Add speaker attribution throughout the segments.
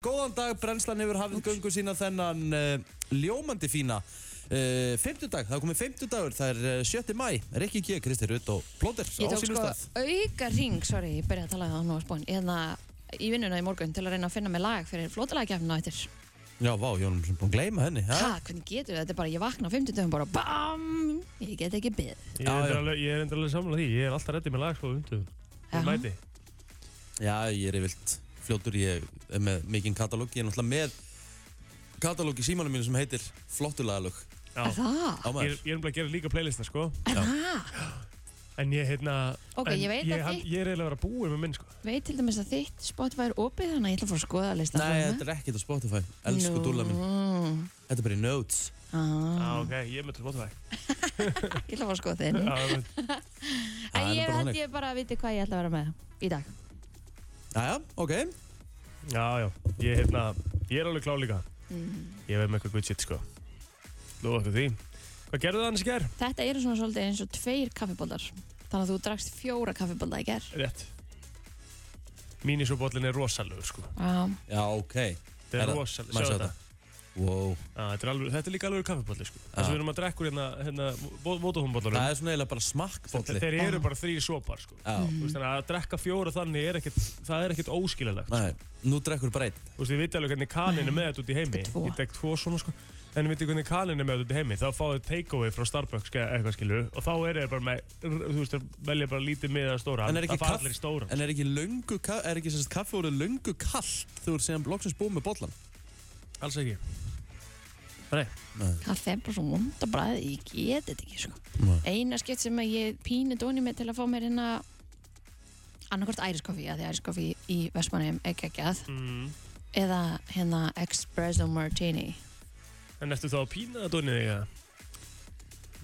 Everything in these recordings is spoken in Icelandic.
Speaker 1: Góðan dag, brennslan hefur hafið göngu sína þennan uh, ljómandi fína uh, Fymtudag, það er komið fymtudagur, það er uh, 7. mæ Rikki G, Kristi Rutt og Plóter á
Speaker 2: Ég tók
Speaker 1: sínum
Speaker 2: sko
Speaker 1: stað
Speaker 2: auka ring, sorry, ég byrjaði að tala það á nóspón hérna í vinnuna í morgun til að reyna að finna mig lag fyrir flótalagakefnina eftir
Speaker 1: Já, vá, ég var nú sem búin að gleyma henni ha?
Speaker 2: Hæ, hvernig getur við þetta bara, ég vakna á 50 dögum bara BAM, ég get ekki byggð
Speaker 3: Ég
Speaker 1: Já,
Speaker 3: er
Speaker 1: já.
Speaker 3: reyndar alveg, ég er reyndar alveg samlega því, ég er alltaf reddið með lag sko undur.
Speaker 2: Já.
Speaker 3: Ég mæti.
Speaker 1: Já, ég er yfirlt fljótur, ég er með mikinn katalóg Ég er náttúrulega með katalóg í símanum mínu sem heitir Flottulagalög
Speaker 3: Já.
Speaker 2: Er það?
Speaker 1: Á
Speaker 3: Ég er
Speaker 1: maður
Speaker 3: ég er umlega að gera líka playlista sko.
Speaker 2: Er það?
Speaker 3: En ég hérna...
Speaker 2: Ok,
Speaker 3: en
Speaker 2: ég veit
Speaker 3: ég,
Speaker 2: að
Speaker 3: hann-
Speaker 2: þið-
Speaker 3: Ég er reyndar að vera búin með minn sko.
Speaker 2: Veit til dæmis að þitt Spotify er opið þannig að ég ætla að fór að skoða að lista
Speaker 1: Nei, þetta er ekkert á Spotify, elsku no. dúlla mín Þetta er bara í Notes
Speaker 3: Já,
Speaker 2: ah,
Speaker 3: ok, ég er með til Spotify.
Speaker 2: Ég ætla að fór að skoða þinn
Speaker 3: Já, ég veit.
Speaker 1: Það
Speaker 2: En
Speaker 1: er
Speaker 2: ég held
Speaker 1: bara þannig.
Speaker 2: ég bara að viti hvað ég ætla að vera með í dag
Speaker 1: Jæja, ok
Speaker 3: já, já. Ég hérna, ég er alveg klá líka. Ég verð með eitthvað good shit sko. Lúðu okkur því. Hvað gerðu það annars í ger?
Speaker 2: Þetta eru svona svolítið eins og tveir kaffibólar Þannig að þú drakst fjóra kaffibóla í ger
Speaker 3: Rétt. Mínisúbóllin er rosalegur sko.
Speaker 2: Já,
Speaker 1: Já, ok
Speaker 3: Þetta er rosalegur.
Speaker 1: Maður
Speaker 3: Sjáðu
Speaker 1: sjá
Speaker 3: þetta.
Speaker 1: Wow
Speaker 3: Já, Þetta er alveg- þetta er líka alveg kaffibólli sko.
Speaker 1: Já.
Speaker 3: Þess að við erum að drekka úr hérna, hérna, mótóhúmbóllurum.
Speaker 1: Það er svona eiginlega bara smakkbólli
Speaker 3: Þeir eru bara þrýr sopar sko.
Speaker 1: Já,
Speaker 3: Þú veist, þannig að að drekka fjóra þannig er ekkit, það er ekkit óskililegt.
Speaker 1: nei, nú drekkur bara einn
Speaker 3: Þú veist, ég veit alveg hvernig kaninn er með þetta út í heimi.
Speaker 2: Þetta er tvo.
Speaker 3: Ég tek tvo svona, sko. En ég veit ekki hvernig kaninn er með þetta út í heimi. Þá fá þið takeaway frá Starbucks eða eitthvað skilur. Og þá er þeir bara með, þú veist, þeir velja bara lítið miða stóra.
Speaker 1: En er ekki
Speaker 3: það fara
Speaker 1: kaff-
Speaker 3: allir í stóra.
Speaker 1: En er ekki löngu, ka- er ekki sérst kaffi voru löngu kallt þú ert síðan loksins búið með bollan
Speaker 3: Alls ekki.
Speaker 2: kaffe er bara svo vond að bræði, ég get þetta ekki sko.
Speaker 1: Nei.
Speaker 2: eina skipt sem að ég pínu dóni með til að fá mér hérna annarkort æriskoffi, að því æriskoffi í Vestmannheim er geggjað
Speaker 3: Mm.
Speaker 2: eða hérna espresso martini
Speaker 3: En eftir þá að pína það dónið þig að?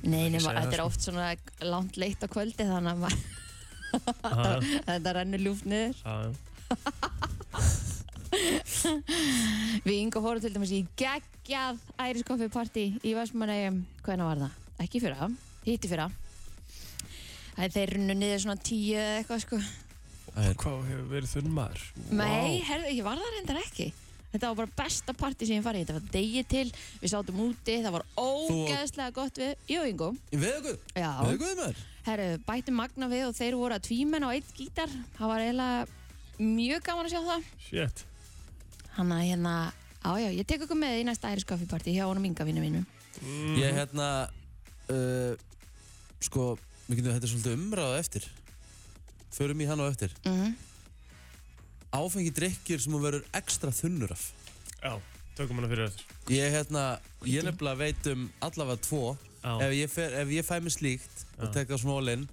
Speaker 2: nei,
Speaker 3: Ekki
Speaker 2: nema,
Speaker 3: segja það,
Speaker 2: þetta er
Speaker 3: sko.
Speaker 2: oft svona langt leitt á kvöldi þannig að maður- þetta rennur ljúft niður við yngu hóru til dæmis í geggjað æriskoffi partí í Vestmannheim hvenna var það? ekki í fyrra, hitti fyrra Það er þeir runnu niður svona tíu eða eitthvað sko
Speaker 1: Það er
Speaker 3: Hvað hefur verið þunn maður?
Speaker 2: Nei, herðu, ég var það reyndar ekki Þetta var bara besta partí sem ég farið í. Þetta var degi til, við sátum úti Það var ógeðslega gott við Jú, Ingo
Speaker 1: Veðuguð,
Speaker 2: Já,
Speaker 1: veðuguð maður
Speaker 2: herru, bætti magna við og þeir voru að tvímenn á eitt gítar Það var eiginlega mjög gaman að sjá það
Speaker 3: Shit.
Speaker 2: Hann að hérna, á já, ég tek okkur með í næsta æriskaffipartí hjá honum Inga vinnu mínum
Speaker 3: Mm.
Speaker 1: Ég hérna uh, Sko, við getum þetta er svolítið umræða eftir Förum í hann á eftir
Speaker 2: mm
Speaker 1: Áfengi drikkjur sem hún verður ekstra þunnur af
Speaker 3: Já, tökum hana fyrir öður.
Speaker 1: Ég hérna, ég nefnilega veit um allavega tvo
Speaker 3: Já.
Speaker 1: ef ég, fer, ef ég fæ mig slíkt og
Speaker 3: Já.
Speaker 1: tek það svona ólinn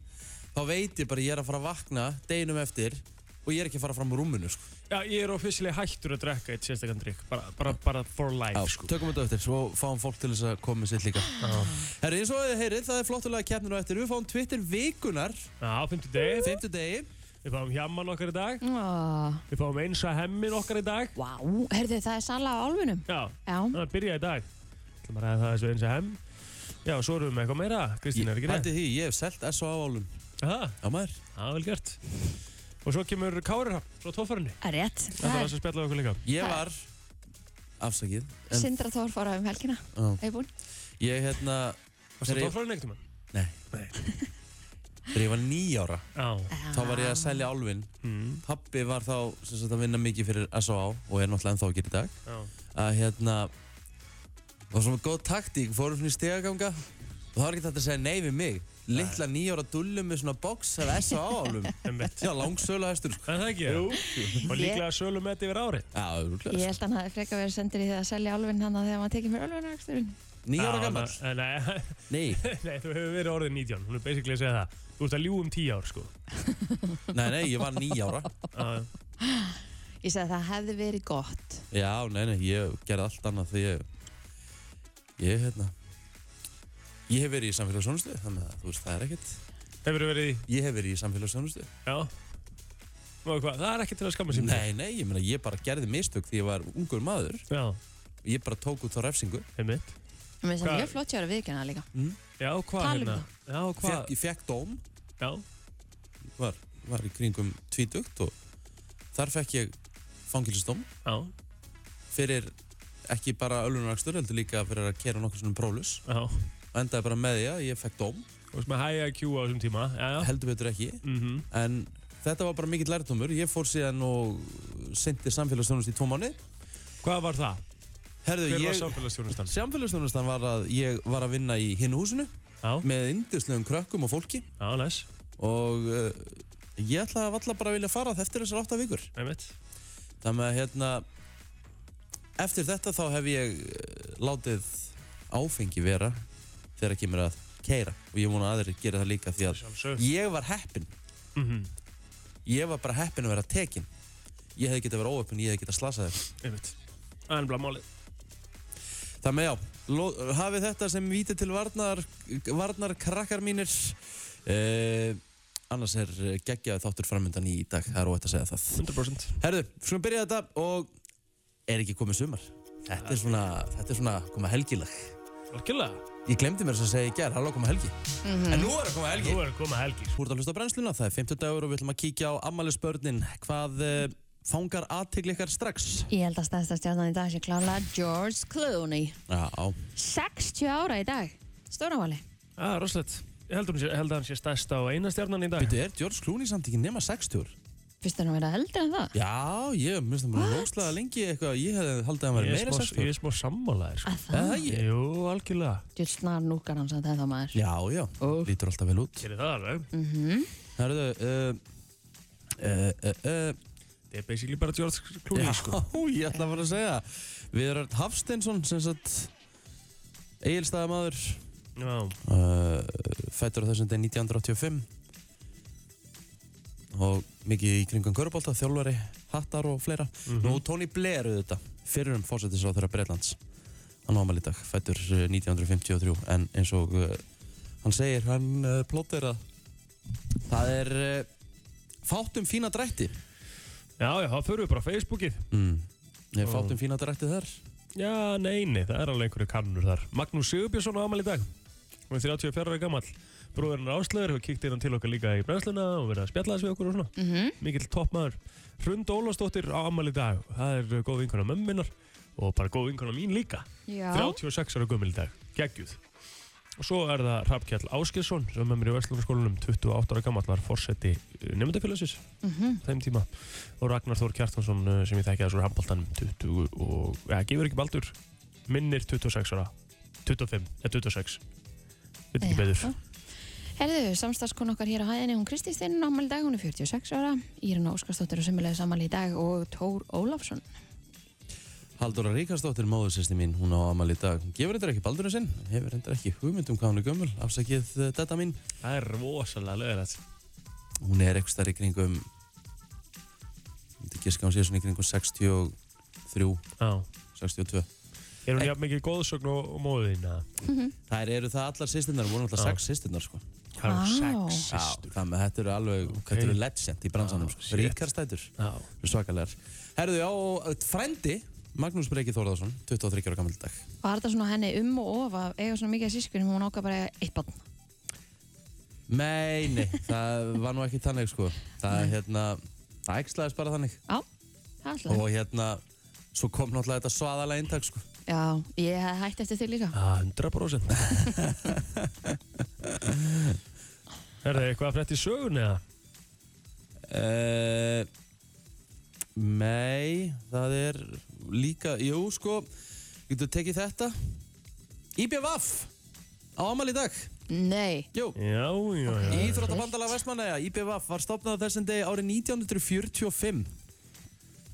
Speaker 1: þá veit ég bara að ég er að fara að vakna deginum eftir og ég er ekki að fara fram úr rúminu sko.
Speaker 3: Já, ég er ofisilega hættur að drekka eitt sérstakann drikk, bara, bara, bara for life, sko.
Speaker 1: tökum þetta eftir svo fáum fólk til þess að koma með sitt líka Herri, eins og þið heyrið, það er flottulega keppnir á eftir við fáum Twitter vikunar
Speaker 3: Já, fymtu deg,
Speaker 1: femtu degi
Speaker 3: við fáum hjamman okkar í dag,
Speaker 2: oh,
Speaker 3: við fáum einsa hemmin okkar í dag.
Speaker 2: Vá, herðu, það er sala á álfunum
Speaker 3: Já,
Speaker 2: Já,
Speaker 3: það er að byrja í dag. Það er að það er svo einsa hemm. Já, svo erum við með eitthvað meira, Kristín, er ekki nefn?
Speaker 1: Hætti því, ég hef selt S.O.A.-álum
Speaker 3: Já,
Speaker 1: Já maður
Speaker 3: það er vel gert. Og svo kemur Kárira frá tóffarinni.
Speaker 2: rétt
Speaker 3: Það
Speaker 2: Það
Speaker 3: er
Speaker 2: er
Speaker 3: að spjalla við okkur líka.
Speaker 1: Ég
Speaker 2: Það-
Speaker 1: var, afsakið en,
Speaker 2: Sindra Þór fóra um helgina,
Speaker 1: á,
Speaker 2: hefur búinn
Speaker 1: Ég hérna,
Speaker 3: Varstu
Speaker 1: Þeir-
Speaker 3: á tóffarinni ekkert mann?
Speaker 1: nei
Speaker 3: Nei.
Speaker 1: Þegar ég var nýjára,
Speaker 3: Já.
Speaker 1: þá var ég að selja álfin
Speaker 3: Mm.
Speaker 1: Pappi var þá sem sagt að vinna mikið fyrir S.O.A. og er náttúrulega ennþá að gera í dag
Speaker 3: Já.
Speaker 1: að hérna það var svona góð taktík, fórum svona í stegaganga og það var ekki þetta að segja nei við mig litla nýjára dullu með svona box af S.A.A.-álum
Speaker 3: Einmitt.
Speaker 1: Já, langsölu hestur sko.
Speaker 3: Það er það ekki, já. Og
Speaker 2: Ég-
Speaker 3: líklega sölu með þetta yfir árið.
Speaker 1: Já, sko. það er
Speaker 2: Ég
Speaker 1: rúglega
Speaker 2: held að hann hafi frekar verið sendur í því að selja álfinn hann að þegar maður tekið mér álfinnaraksturinn.
Speaker 1: Nýjára
Speaker 3: Já,
Speaker 1: gammal
Speaker 3: na- Nei,
Speaker 1: Nei,
Speaker 3: Nei, þú hefur verið orðið 19, hún er basically að segja það Þú ert að ljúga um 10 ár sko
Speaker 1: nei, nei, ég var nýjára
Speaker 3: Já,
Speaker 2: Ég sagði að það hefði verið gott.
Speaker 1: Já, nei, nei, ég gerði allt annað því ég ég, hérna ég hef verið í samfélagsjónustu þannig að þú veist, það er ekkert
Speaker 3: Hefur verið í,
Speaker 1: ég hef verið í samfélagsjónustu
Speaker 3: já Nú, hvað, það er ekki til að skamma um sín
Speaker 1: Nei, nei, ég meina, ég bara gerði mistök því ég var ungur maður
Speaker 3: Já,
Speaker 1: ég bara tók út þá refsingu
Speaker 3: einmitt
Speaker 2: Mér finnst það
Speaker 3: Hvað-
Speaker 2: mjög flott hjá þér að viðkynna það líka.
Speaker 3: Já, hvað
Speaker 2: Talum
Speaker 3: hérna
Speaker 2: það.
Speaker 3: Já,
Speaker 1: Fekk-
Speaker 3: hvað
Speaker 1: Ég fekk dóm,
Speaker 3: Já,
Speaker 1: var, var í kringum tvítugt og þar fekk ég fangilsdóm
Speaker 3: já
Speaker 1: fyrir ekki bara öllunarakstur, heldur líka fyrir að kera nokkur svona prólus
Speaker 3: Já.
Speaker 1: og endaði bara með því að ég fekk dóm
Speaker 3: Þú veist með high IQ á þessum tíma Já, Mm. já
Speaker 1: heldur betur ekki en þetta var bara mikill lærtómur ég fór síðan og sendi samfélagsþjónust í tvo mánu
Speaker 3: Hvað var það?
Speaker 1: Herðu,
Speaker 3: Hver var
Speaker 1: ég,
Speaker 3: samfélagsstjónustan?
Speaker 1: samfélagsþjónustan var að ég var að vinna í hinu húsinu
Speaker 3: Já,
Speaker 1: með yndislegum krökkum og fólki
Speaker 3: já, næs
Speaker 1: og uh, ég ætlaði að valla bara að vilja fara það eftir þessar átta vikur
Speaker 3: Einmitt
Speaker 1: þannig að hérna eftir þetta þá hef ég eh, látið áfengi vera þegar kemur að keira og ég vona að aðrir gera það líka því að
Speaker 3: Sjálfsög
Speaker 1: ég var heppin
Speaker 3: Mhm,
Speaker 1: ég var bara heppin að vera tekin ég hefði getið að vera óöppin, ég hefði getið að slasa þeim
Speaker 3: Einmitt Það er bara málið
Speaker 1: Þannig já, lo- hafið þetta sem víti til varnar, varnar krakkar mínir eh, annars er eh, geggjaður þáttur framöndan í dag, það er óætt að segja það
Speaker 3: 100%
Speaker 1: Herðu, skulum byrja þetta og er ekki komið sumar Þetta er svona, þetta er svona koma helgilag
Speaker 3: Algjörlega
Speaker 1: Ég glemdi mér þess að segja í gerð, halló koma helgi
Speaker 4: Hmm.
Speaker 1: En nú er að koma helgi
Speaker 3: Nú er að koma helgi
Speaker 1: Þú ert að hlusta á brennsluna, það er 50 dagur og við ætlum að kíkja á ammælisbörnin Hvað eh, fangar aðtegli ykkar strax?
Speaker 2: Ég held að stæðsta stjarnan í dag sé klála George Clooney.
Speaker 1: Já, á.
Speaker 2: 60 ára í dag. Stórnavali.
Speaker 3: Já, Ah, rosalegt Ég held, um, ég held að hann sé stærsta og eina stjarnan í dag
Speaker 1: Býtu, er George Clooney samt ekki nema 60?
Speaker 2: Fyrst hann að vera eldri en það?
Speaker 1: Já, ég minnst hann bara lókslega lengi eitthvað Ég hefði haldið að hann
Speaker 3: Ég
Speaker 1: væri
Speaker 3: er
Speaker 1: meira
Speaker 3: smá-
Speaker 1: 60
Speaker 3: Ég er smá sammálaðir sko.
Speaker 2: Að
Speaker 1: Er
Speaker 2: það?
Speaker 1: það ekki?
Speaker 3: Jú, algjörlega
Speaker 2: Djöld snar núkar hans að það þá maður.
Speaker 1: Já, já,
Speaker 2: Og-
Speaker 1: lítur alltaf vel út
Speaker 3: Sér það alveg
Speaker 2: Mhm.
Speaker 1: Herðu, uh, uh, uh, uh,
Speaker 3: Þetta er basically bara George
Speaker 1: Já,
Speaker 3: Clooney sko.
Speaker 1: ég ætla bara að segja Viðar Örn Hafsteinsson sem sagt Egilstaðamadur
Speaker 3: Já,
Speaker 1: uh, fættur á þessum dag 1985 og mikið í kringum Körbólta, þjálfari, hattar og fleira
Speaker 3: Mhm.
Speaker 1: Nú Tony Blair auðvitað fyrir um fórsættisráþurra Breitlands hann ámæli í dag, fættur eh, 1953 en eins og uh, hann segir, hann uh, plóttir að það er uh, fátt um fína drætti
Speaker 3: já, já, þá förum við bara á Facebookið
Speaker 1: mm. er fátt
Speaker 3: Ó.
Speaker 1: um fína drætti þar
Speaker 3: Já, nei, nei, það er alveg einhverju kannur þar Magnús Sigurbjörnsson á amal í dag Hún er 34 ára gamall Bróðurinn Áslöður hefur kíkt inn til okkar líka í brennsluna og verið að spjalla þessu við okkur og svona
Speaker 2: Mm
Speaker 3: Mikill toppmaður Hrund Ólafsdóttir á amal í dag Það er uh, góð vinkona mömminnar og bara góð vinkona mín líka
Speaker 2: Já.
Speaker 3: 36 ára gömul í dag, geggjuð Og svo er það Hrafkjall Áskjesson sem er með mér í Vestlunarskólanum 28 ára gamall var forseti nefndafélagsins
Speaker 2: Mm
Speaker 3: þeim tíma og Ragnar Þór Kjartansson eh, sem ég þekki þessu handbóltanum 20 og, eða, gefur ekki baldur minnir 26 ára 25, eða 26 veit ekki betur
Speaker 2: Herðu, samstarfskon okkar hér á hæðinni, hún Kristi Stinn ámali í dag, hún er 46 ára, Írna Óskarsdóttir og sömulegis ámali í dag og Tór Ólafsson.
Speaker 1: Halldóra Ríkarsdóttir, móðursýsti mín, hún á amal í dag. Hún gefur reyndar ekki baldurinn sinn, hefur reyndar ekki hugmynd um hvað hún er gömul, afsakið eh, detta mín.
Speaker 3: það er rosalega lögilegt
Speaker 1: Hún er eitthvað starf í kringum, ég myndi giska að hún sé svona í kringum 63,
Speaker 3: Já.
Speaker 1: 62.
Speaker 3: er hún jafn mikið góðsögn og, og móðin
Speaker 1: Þær eru það allar sýstinnar, voru alltaf
Speaker 3: Já.
Speaker 1: sex sýstinnar sko.
Speaker 3: það er hún
Speaker 2: Vá.
Speaker 3: sex systur
Speaker 1: Þannig að þetta eru alveg, þetta eru legend í bransanum sko.
Speaker 3: shit.
Speaker 1: Ríkarstætur,
Speaker 3: Já.
Speaker 1: svakalegar. Herðu, já, og eh, frændi, Magnús Breki Þórðarsson, 23 ára gammal í dag.
Speaker 2: Var þetta svona henni um og of að eiga svona mikið sískunum, hún ákvað bara að eiga eitt barn.
Speaker 1: Nei, nei, það var nú ekki þannig sko Það er hérna, það ægslaðist bara þannig
Speaker 2: Já, það er alltaf.
Speaker 1: Og hérna, svo kom náttúrulega þetta svaðalega eintak sko
Speaker 2: Já, ég hef hægt eftir þig líka.
Speaker 3: Já, 100% er það eitthvað að frétta í sögun eða?
Speaker 1: uh, Nei, það er líka, jú sko Getur tekið þetta IBVF á ámæli í dag
Speaker 2: Nei,
Speaker 1: Jú,
Speaker 3: já, já, já
Speaker 1: Íþróttabandala Vestmannaja IBVF var stopnað á þessum degi árið 1945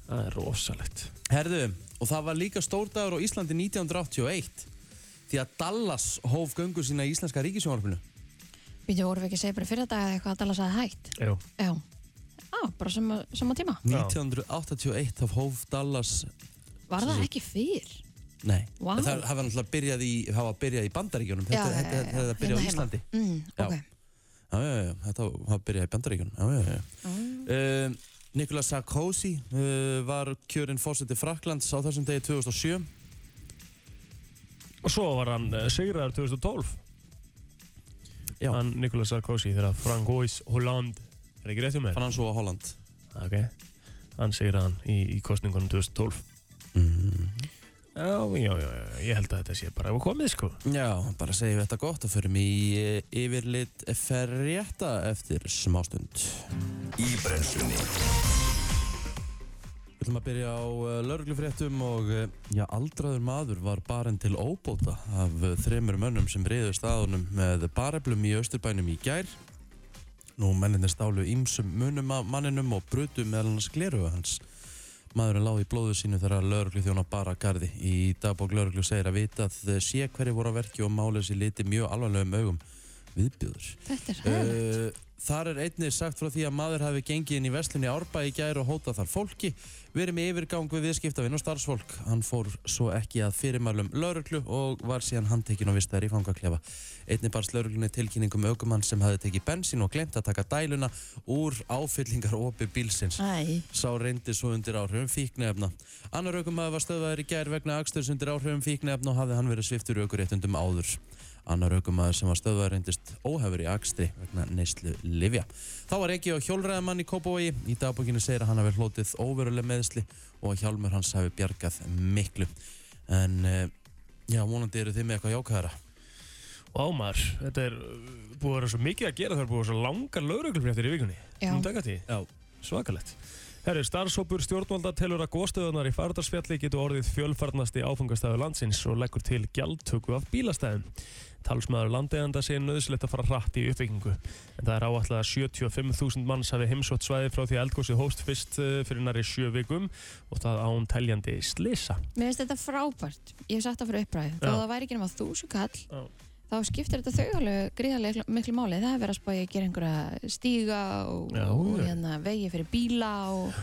Speaker 3: það er rosalegt
Speaker 1: Herðu, og það var líka stórdagur á Íslandi 1981 því að Dallas hóf göngu sína í Íslenska ríkisjónvarpinu.
Speaker 2: býttu voru við ekki að segja bara fyrir dag að eitthvað að Dallas að hægt.
Speaker 3: já,
Speaker 2: Já, á, bara sama, sama tíma.
Speaker 3: Já.
Speaker 1: 1981 þá hóf Dallas,
Speaker 2: Var það ekki fyrr?
Speaker 1: nei,
Speaker 2: Vá.
Speaker 1: það það var náttúrulega byrjað í, það var byrjað í Bandaríkjunum, þetta, þetta, þetta, þetta byrjað á
Speaker 2: Hérna
Speaker 1: Íslandi.
Speaker 2: heima. Mm,
Speaker 1: Já.
Speaker 2: ok.
Speaker 1: Já, já, já, þetta var byrjað í Bandaríkjunum, já, já, já. Uh, Nikola Sarkozy uh, var kjörinn fórseti Fraklands á þessum degi 2007.
Speaker 3: Og svo var hann uh, sigraðar 2012
Speaker 1: Já.
Speaker 3: Hann Nicolas Sarkozy þegar Francois Hollande Er ekki rétt um mér?
Speaker 1: Fann hann svo á Holland.
Speaker 3: Ok Hann sigraði hann í, í kostningunum 2012
Speaker 1: Mm,
Speaker 3: Já, já, já, já, ég held að þetta sé bara að komið sko
Speaker 1: Já, bara segjum við þetta gott og förum í eh, yfirlit ferrétta eftir smástund.
Speaker 5: Í brennslunni
Speaker 1: Við ætlum að byrja á lauruglufréttum og eh, já, aldraður maður var barinn til óbóta af eh, þremur mönnum sem reyðu staðunum með bareflum í Östurbænum í gær. Nú menninir stálu ímsum munum af manninum og brutu meðal hans gleruga hans. Maðurinn láði í blóðu sínu þegar lauruglu þjóna bara gardi. Í dagbók lauruglu segir að vita að eh, sé hverju voru að verki og málið sér liti mjög alvarlegum augum viðbjöður.
Speaker 2: Þetta er hægt.
Speaker 1: Uh, þar er einnig sagt frá því að maður hafi gengið inn í veslinni Árba í gær og hótað þar fólki verið með yfirgang við viðskiptavinn og starfsfólk hann fór svo ekki að fyrirmælum lauruglu og var síðan handtekinn og vistaður í fangaklefa einnig barst lauruglunni tilkynningum aukumann sem hafi tekið bensín og glemt að taka dæluna úr áfyllingar opi bílsins
Speaker 2: Æ,
Speaker 1: Sá reyndi svo undir áhrifum fíknefna. Annar aukumæður var stöðvaður í gær vegna aksturs undir áhrifum fíknefna og hafði hann verið sviftur aukuréttundum áður. Annar aukumæður sem var stöðvaður reyndist óhefur í akstri vegna neyslu livja. Þá var ekki á hjólræðamann í Kópavogi. Í dagbókinu segir að hann hafi hlotið óveruleg meðsli og að hjálmur hans hafi bjargað miklu. En eh, já, vonandi eru þið með eitthvað jákvæðara.
Speaker 3: Vá maður, þetta er uh, búið að vera svo mikið að gera það er búið að vera svo langar lauruglufréttir í vikunni
Speaker 2: já.
Speaker 3: um dagatíð
Speaker 1: Já.
Speaker 3: Svakalegt. Herri, starfsópur stjórnvalda telur að góðstöðunar í fardarsfjalli getur orðið fjölfarnasti áfangastæðu landsins og leggur til gjaldtöku af bílastæðum. Talsmaður landeiganda sé nöðslegt að fara hratt í uppbyggingu. En það er áætlað að 75.000 manns hafi heimsótt svæði frá því að eldgósi hóst fyrst eh, fyrir næri sjö vikum og það án teljandi slisa.
Speaker 2: Mér finnst þetta frábært. Ég hef sagt það fyrir uppræðu. Þó
Speaker 3: Já.
Speaker 2: það væri ekki nema þúsu kall,
Speaker 3: Já.
Speaker 2: þá skiptir þetta þau alveg gríðarlega miklu máli. Það er verið að spája að gera einhverja stíga og,
Speaker 3: Já,
Speaker 2: og
Speaker 3: já.
Speaker 2: hérna, vegi fyrir bíla og,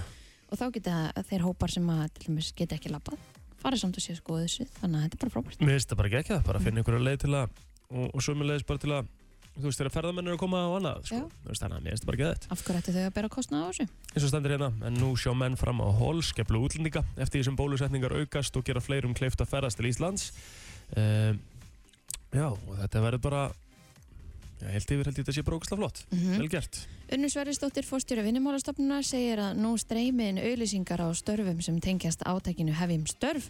Speaker 2: og þá geta þeir hópar sem að til dæmis geta ekki labbað farið samt og séu skoðu þessu. Þannig að þetta er bara frábært.
Speaker 3: Mér finnst það bara ekki það, bara að finna einhverja leið til að og, og sömulegis bara til að þú veist þegar ferðamenn eru að koma og annað sko.
Speaker 2: Já.
Speaker 3: Þú veist, þannig að mér finnst það bara ekki
Speaker 2: Af hverju ættu þau að bera kostnað á þessu?
Speaker 3: eins og stendur hérna, en nú sjá menn fram á holskeplu útlendinga eftir því sem bólusetningar aukast og gera fleirum kleift að ferðast til Íslands um, Já, og þetta verður bara já, held yfir held ég þetta sé brókislega flott
Speaker 2: Mm
Speaker 3: Vel gert
Speaker 2: Unnur Sverrisdóttir fórstjóra vinnumálastofnunar segir að nú streymiðin auðlýsingar á störfum sem tengjast átakinu hefjum störf.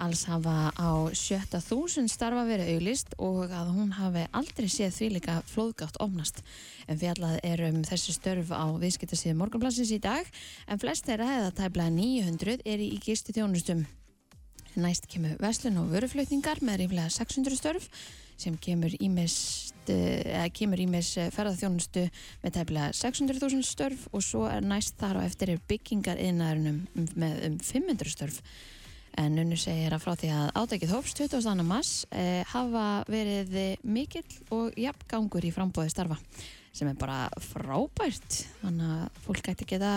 Speaker 2: Alls hafa á sjötta þúsund starfa verið auðlýst og að hún hafi aldrei séð því líka flóðgátt omnast. En fjallað er um þessi störf á viðskiptasíðu morgunplassins í dag en flest þeirra eða tæplega 900 eru í gistu þjónustum. Næst kemur veslun og vöruflutningar með ríflega 600 störf sem kemur ímest eða kemur ímest ferðarþjónustu með tæplega 600.000 störf og svo er næst þar á eftir er byggingar innæðunum með um 500 störf en nunnu segir að frá því að átakið hófst 22. mass eh, hafa verið mikill og jafn gangur í frambóði starfa sem er bara frábært þannig að fólk ætti geta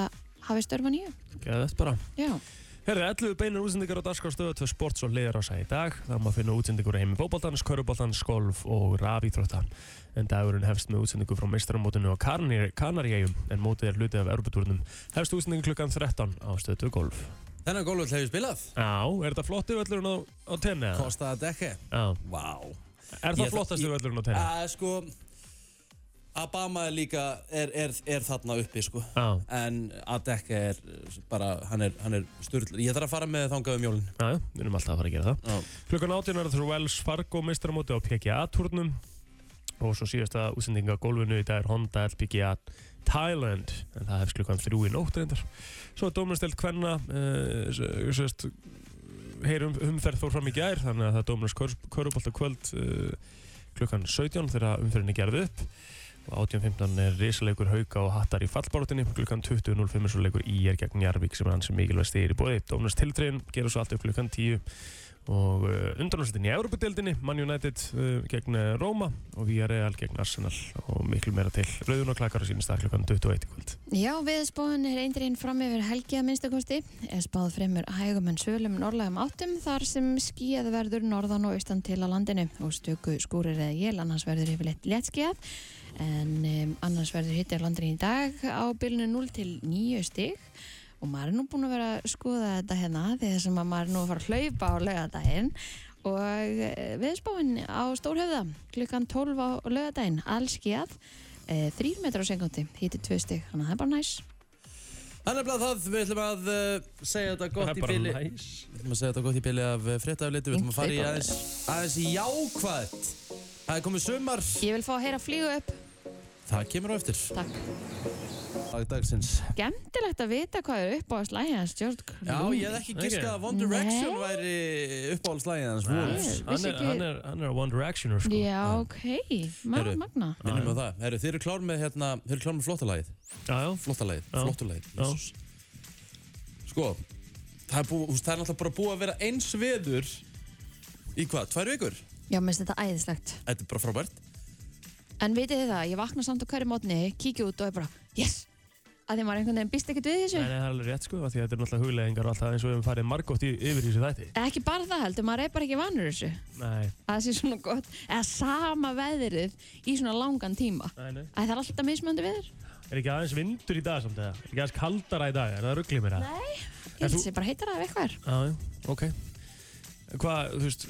Speaker 2: hafið störfa nýju
Speaker 3: Geða þetta bara
Speaker 2: Já,
Speaker 3: Herðu, 11 beinar útsendingar á dagskarstöðu tvö sports og leiðarása í dag Það má finna útsendingur á heimi fótboltans, köruboltans, golf og rafíþrótta En dagurinn hefst með útsendingu frá meistaramótinu á Kanaríæjum En mótið er hlutið af erfutúrnum Hefst útsendingu klukkan 13 á stöðu golf
Speaker 1: Þennan gólfið hefur spilað.
Speaker 3: Já, er þetta flotti völlurinn á, á tenni? eða?
Speaker 1: Kostaði þetta ekki?
Speaker 3: Já.
Speaker 1: Vá.
Speaker 3: Er það
Speaker 1: Ég-
Speaker 3: flottastu
Speaker 1: ég-
Speaker 3: völlurinn á tenni?
Speaker 1: Það er sko Abama er líka er, er, er þarna uppi sko
Speaker 3: Já,
Speaker 1: en Adekka er uh, bara hann er, hann er styrl ég þarf að fara með þangað um jólin
Speaker 3: já, já, við erum alltaf að fara að gera það. Klukkan 18 er það Wells Fargo meistaramóti á PGA-turnum og svo síðasta útsendinga á gólfinu í dag er Honda LPGA Thailand en það hefst klukkan 3 í nótt reyndar. Svo er dómurnastelt Kvenna uh, sérst heyrum um umferð fór fram í gær þannig að það er dómurnast Körubolt á kvöld uh, klukkan 17 þegar umferðin er gerð upp og 18.15 er risaleikur hauka og hattar í fallbáratinni klukkan 20.05 er svo leikur í er gegn Jarvík sem er hans mikilvæg stegir í bóði Dómnast tiltreyðin gerur svo allt upp klukkan 10 og uh, undanúrslitin í Európa-deildinni Man United uh, gegn eh, Róma og Villarreal gegn Arsenal og miklu meira til Rauðun og Klakar sínist að klukkan 21 í kvöld
Speaker 2: Já, viðspóðin er eindriðin fram yfir helgi að minnstakosti. Er spáð fremur hægum en svölum norðlægum áttum þar sem skíðað verður norðan og austan til á landinu og stöku skúrir eða jél annars verður yfirleitt léttskíðað en um, annars verður hittir landinu í dag á bylunu 0 til 9 stig og maður er nú búin að vera að skoða þetta hérna því þessum að maður er nú að fara að hlaupa á laugardaginn og viðspóðin á Stórhöfða klukkan 12 á Eh, laugardaginn allskíðað þrýr metrar á sekundi, hiti tvö stygg, þannig að það er bara næs.
Speaker 1: Það er nefnilega það, við ætlum að uh, segja þetta gott
Speaker 3: Það er
Speaker 1: í
Speaker 3: bara
Speaker 1: bili
Speaker 3: næs.
Speaker 1: Við ætlum að segja þetta gott í bili af eh, fréttafliti Við ætlum að fara í aðeins, aðeins í jákvætt Það er komið sumar
Speaker 2: Ég vil fá að heyra flýgu upp.
Speaker 1: Það kemur á eftir
Speaker 2: Takk.
Speaker 1: Dag dagsins
Speaker 2: Gemtilegt að vita hvað er upp á slæðið hans, George Clooney.
Speaker 1: Já, ég hefði ekki giskað að One Direction væri uppáhaldslægið hans Wolves.
Speaker 2: Nei, vissi ekki.
Speaker 3: Hann er, hann er One Directioner sko.
Speaker 2: Já, ok. Ma-
Speaker 1: Heyrðu.
Speaker 2: Magna.
Speaker 1: Minnum á það. Herru, þeir eru klár með, hérna, þeir eru klár með flottalagið.
Speaker 3: Já, já.
Speaker 1: Flottalagið,
Speaker 3: Já.
Speaker 1: flottalagið.
Speaker 3: Já.
Speaker 1: Jesús. Sko, það er, bú, þú veist, það er náttúrulega bara búið að vera eins veður í hvað, tvær vikur?
Speaker 2: Já, mér finnst þetta æðislegt.
Speaker 1: Þetta er bara frábært.
Speaker 2: En vitið þið það, ég vakna samt á hverju mótni, kíkja út og er bara, yes! Að því maður einhvern veginn býst ekkert við þessu.
Speaker 3: Nei, nei, það er alveg rétt sko, af því að þetta er náttúrulega huglegingar og alltaf eins og við höfum farið margótt í- yfir í þessu þætti.
Speaker 2: Ekki bara það heldur, maður er bara ekki vanur þessu.
Speaker 3: Nei,
Speaker 2: Að það sé svona gott, eða sama veðrið í svona langan tíma.
Speaker 3: nei, nei.
Speaker 2: Æ, það er alltaf mismöndu veður.
Speaker 3: Er ekki aðeins vindur í dag samt eða? Er ekki aðeins kaldara í dag? Er það rugglið mér það?
Speaker 2: Nei, ég
Speaker 3: En
Speaker 2: held
Speaker 3: þú-
Speaker 2: að sé bara heitar af eitthvað er.
Speaker 3: Já, já, ok. Hvað, þú veist,